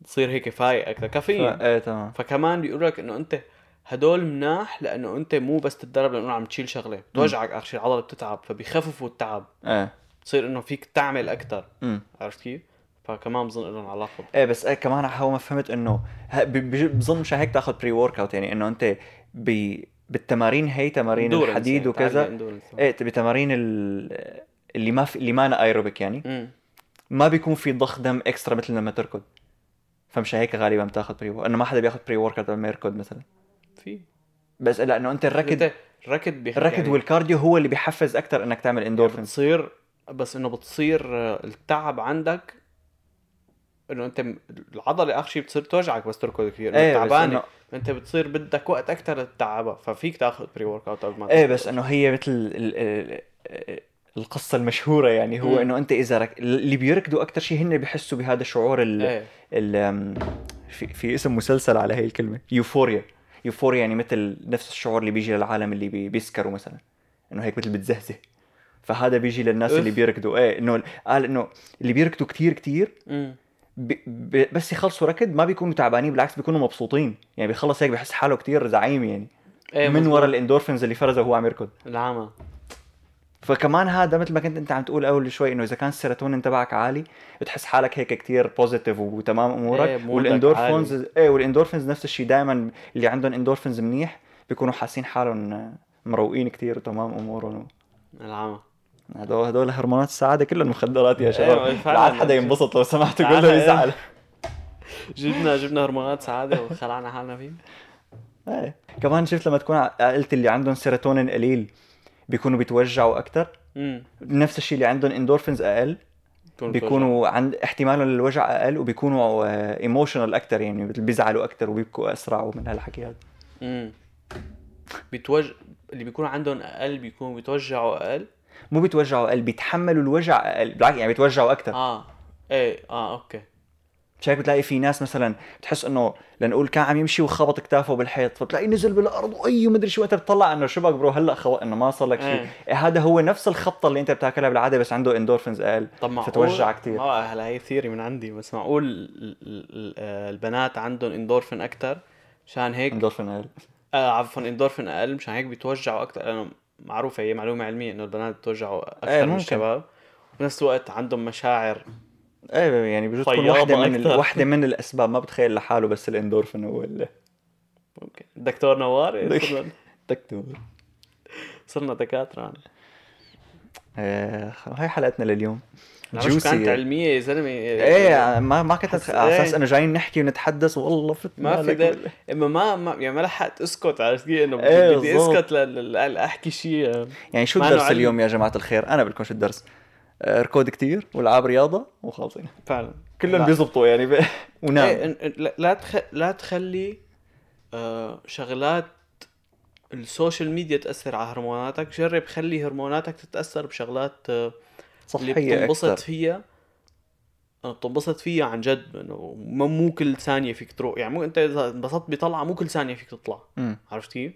بصير هيك فايق اكثر كافيين
ايه تمام
فكمان بيقول لك انه انت هدول مناح لانه انت مو بس تتدرب لانه عم تشيل شغله بتوجعك اخر شيء العضله بتتعب فبيخففوا التعب
ايه
بتصير انه فيك تعمل اكثر
مم.
عرفت كيف؟ فكمان بظن لهم علاقه
ايه بس ايه كمان على هو ما فهمت انه ه- ب- بج- بظن مشان هيك تاخذ بري ورك اوت يعني انه انت ب... بالتمارين هي تمارين
Endurance
الحديد
يعني، تعلي
وكذا
endurance.
ايه بتمارين ال... اللي ما في... اللي ما أنا ايروبيك يعني
مم.
ما بيكون في ضخ دم اكسترا مثل لما تركض فمشان هيك غالبا بتاخذ بري ورك انه ما حدا بياخذ بري ورك اوت لما يركض مثلا
في
بس لانه انت الركض
الركض الركض بيح-
الركض
يعني-
والكارديو هو اللي بيحفز اكثر انك تعمل اندورفينز
بتصير بس انه بتصير آه، التعب عندك انه انت م- العضله اخر شيء بتصير توجعك بس تركض كثير إنه
ايه بس
تعبانه
إنه-
انت بتصير بدك وقت اكثر لتتعبها ففيك تاخذ بري ورك اوت قبل ما
ايه
تركض.
بس انه هي مثل ال- ال- ال- القصة المشهورة يعني هو
مم.
انه انت اذا رك... اللي بيركضوا اكثر شيء هن بيحسوا بهذا الشعور ال...
ايه
ال... أم، في... في اسم مسلسل على هي الكلمة يوفوريا يوفوريا يعني مثل نفس الشعور اللي بيجي للعالم اللي بي... بيسكروا مثلا انه هيك مثل بتزهزه فهذا بيجي للناس
أف.
اللي بيركضوا ايه انه قال انه اللي بيركضوا كتير كتير
مم.
ب... ب... بس يخلصوا ركض ما بيكونوا تعبانين بالعكس بيكونوا مبسوطين يعني بيخلص هيك بحس حاله كتير زعيم يعني
ايه
من
مزبوط.
ورا الاندورفينز اللي فرزه وهو عم يركض
العمى
فكمان هذا مثل ما كنت انت عم تقول اول شوي انه اذا كان السيروتونين تبعك عالي بتحس حالك هيك كتير بوزيتيف وتمام امورك
إيه، مودك
والاندورفينز ايه والاندورفينز نفس الشيء دائما اللي عندهم اندورفينز منيح بيكونوا حاسين حالهم مروقين كتير وتمام امورهم
العمى
هدول هدول هرمونات السعاده كلهم مخدرات يا
إيه،
شباب
فعلاً.
لا حدا ينبسط لو سمحتوا
تعال،
كله
إيه.
يزعل
جبنا جبنا هرمونات سعاده وخلعنا حالنا فيه
ايه كمان شفت لما تكون قلت اللي عندهم سيروتونين قليل بيكونوا بيتوجعوا اكثر
امم
نفس الشيء اللي عندهم اندورفينز اقل بيكونوا عند احتمالهم للوجع اقل وبيكونوا ايموشنال اكثر يعني مثل بيزعلوا اكثر وبيبكوا اسرع ومن هالحكي هذا
امم بيتوج اللي بيكون عندهم اقل بيكونوا بيتوجعوا اقل
مو بيتوجعوا اقل بيتحملوا الوجع اقل بالعكس يعني بيتوجعوا اكثر
اه ايه اه اوكي
مش هيك بتلاقي في ناس مثلا بتحس انه لنقول كان عم يمشي وخبط كتافه بالحيط فبتلاقي نزل بالارض واي مدري شو وقتها بتطلع انه شبك برو هلا خو... انه ما صار لك شيء
إيه.
إيه هذا هو نفس الخبطه اللي انت بتاكلها بالعاده بس عنده اندورفينز اقل
طب معقول
فتوجع كتير.
اه هلا هي ثيري من عندي بس معقول ال- ال- ال- آه، البنات عندهم اندورفين اكثر مشان هيك
اندورفين اقل
آه عفوا اندورفين اقل مشان هيك بيتوجعوا اكثر لانه معروفه هي معلومه علميه انه البنات بتوجعوا
إيه،
اكثر من
ممكن.
الشباب وبنفس الوقت عندهم مشاعر
ايه يعني بجوز تكون
فياضة
وحده من ال...
أكتر.
وحده من الاسباب ما بتخيل لحاله بس الاندورفين هو اللي
ممكن دكتور نوار إيه،
دك-
صرنا-
تكتب
صرنا دكاتره
آه، هاي حلقتنا لليوم
جوسي كانت
جوسي
علميه يا زلمه
ايه ما ما كنت
حس-
أتخ- على اساس
إيه.
انه جايين نحكي ونتحدث والله فتنا
ما في
لك
دل... اما ما ما يعني ما لحقت اسكت عرفت كيف انه بدي,
إيه،
بدي
بالضبط.
اسكت ل... ل... ل... احكي شيء آه،
يعني شو
ما
الدرس
نوع علم.
اليوم يا جماعه الخير انا بقول لكم شو الدرس آه، ركود كتير والعاب رياضه وخلصين
فعلا
كلهم
لا.
بيزبطوا يعني ب...
إيه،
ونام
إن- إن- لا- لا تخ... لا تخلي آه شغلات السوشيال ميديا تاثر على هرموناتك جرب خلي هرموناتك تتاثر بشغلات آه اللي
صحيه
بتنبسط
اكثر
فيها انا بتنبسط فيها عن جد انه ما- مو كل ثانيه فيك تروح يعني مو انت اذا انبسطت بطلعه مو كل ثانيه فيك تطلع
مم.
عرفت كيف؟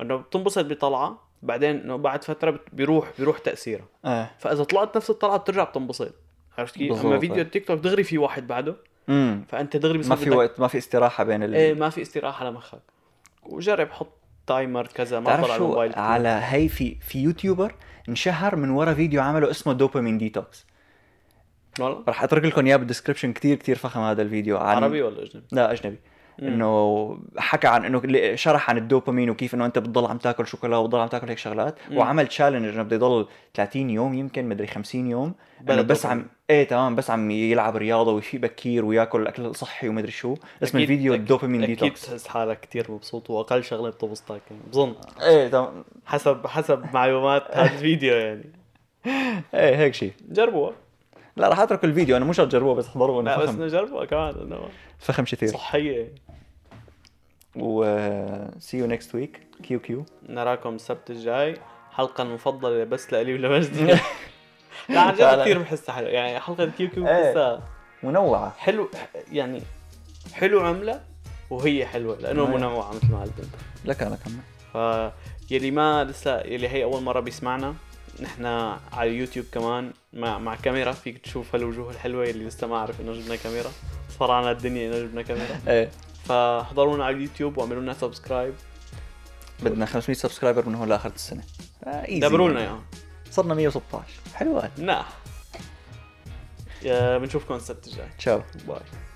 انه بتنبسط بطلعه بعدين انه بعد فتره بت- بيروح بيروح تاثيرها
ايه
فاذا طلعت نفس الطلعه بترجع بتنبسط عرفت كيف؟ اما
بالضبط.
فيديو التيك توك دغري في واحد بعده
مم.
فانت دغري
ما
بصير
في
بدك-
وقت ما في استراحه بين ال...
ايه ما في استراحه لمخك وجرب حط تايمر كذا ما
تعرف
تطلع
شو
الموبايل كتير.
على هي في في يوتيوبر انشهر من ورا فيديو عمله اسمه دوبامين ديتوكس
والله
رح اترك لكم اياه بالدسكربشن كتير كتير فخم هذا الفيديو عن
نعم؟ عربي ولا اجنبي؟
لا اجنبي انه حكى عن انه ل- شرح عن الدوبامين وكيف انه انت بتضل عم تاكل شوكولا وبتضل عم تاكل هيك شغلات
مم.
وعمل تشالنج انه بده يضل 30 يوم يمكن مدري 50 يوم انه
بلا
بس
دوبامين.
عم ايه تمام بس عم يلعب رياضه ويفيق بكير وياكل اكل صحي ومدري شو اسم
أكيد-
الفيديو
أكيد-
الدوبامين
اكيد
ديتوكس
بتحس حالك كثير مبسوط واقل شغله بتبسطك يعني بظن
ايه تمام
حسب حسب معلومات هذا الفيديو يعني
ايه هيك شيء
جربوها
لا رح اترك الفيديو انا مش تجربوه بس احضروه انه
لا بس
فخم
نجربها كمان انه
فخم كثير
صحيه
و سي يو نيكست ويك كيو كيو
نراكم السبت الجاي حلقه المفضله بس لالي ولمجدي لا عن جد
فعلاً.
كثير بحسها حلوه يعني حلقه كيو كيو
إيه.
بحسها
منوعه
حلو يعني حلو عملة وهي حلوة لأنه
أيوة.
منوعة مثل ما قلت أنت
لك انا كمان
ف يلي ما لسه يلي هي أول مرة بيسمعنا نحن على اليوتيوب كمان مع مع كاميرا فيك تشوف هالوجوه الحلوة يلي لسه ما عرف إنه جبنا كاميرا صار عنا الدنيا إنه جبنا كاميرا
ايه
فاحضرونا على اليوتيوب واعملوا لنا سبسكرايب
بدنا 500 سبسكرايبر من هون لاخر السنه آه، ايزي
يعني. دبروا لنا إياهم
صرنا 116 حلوات
نعم
آه، بنشوفكم السبت الجاي
تشاو
باي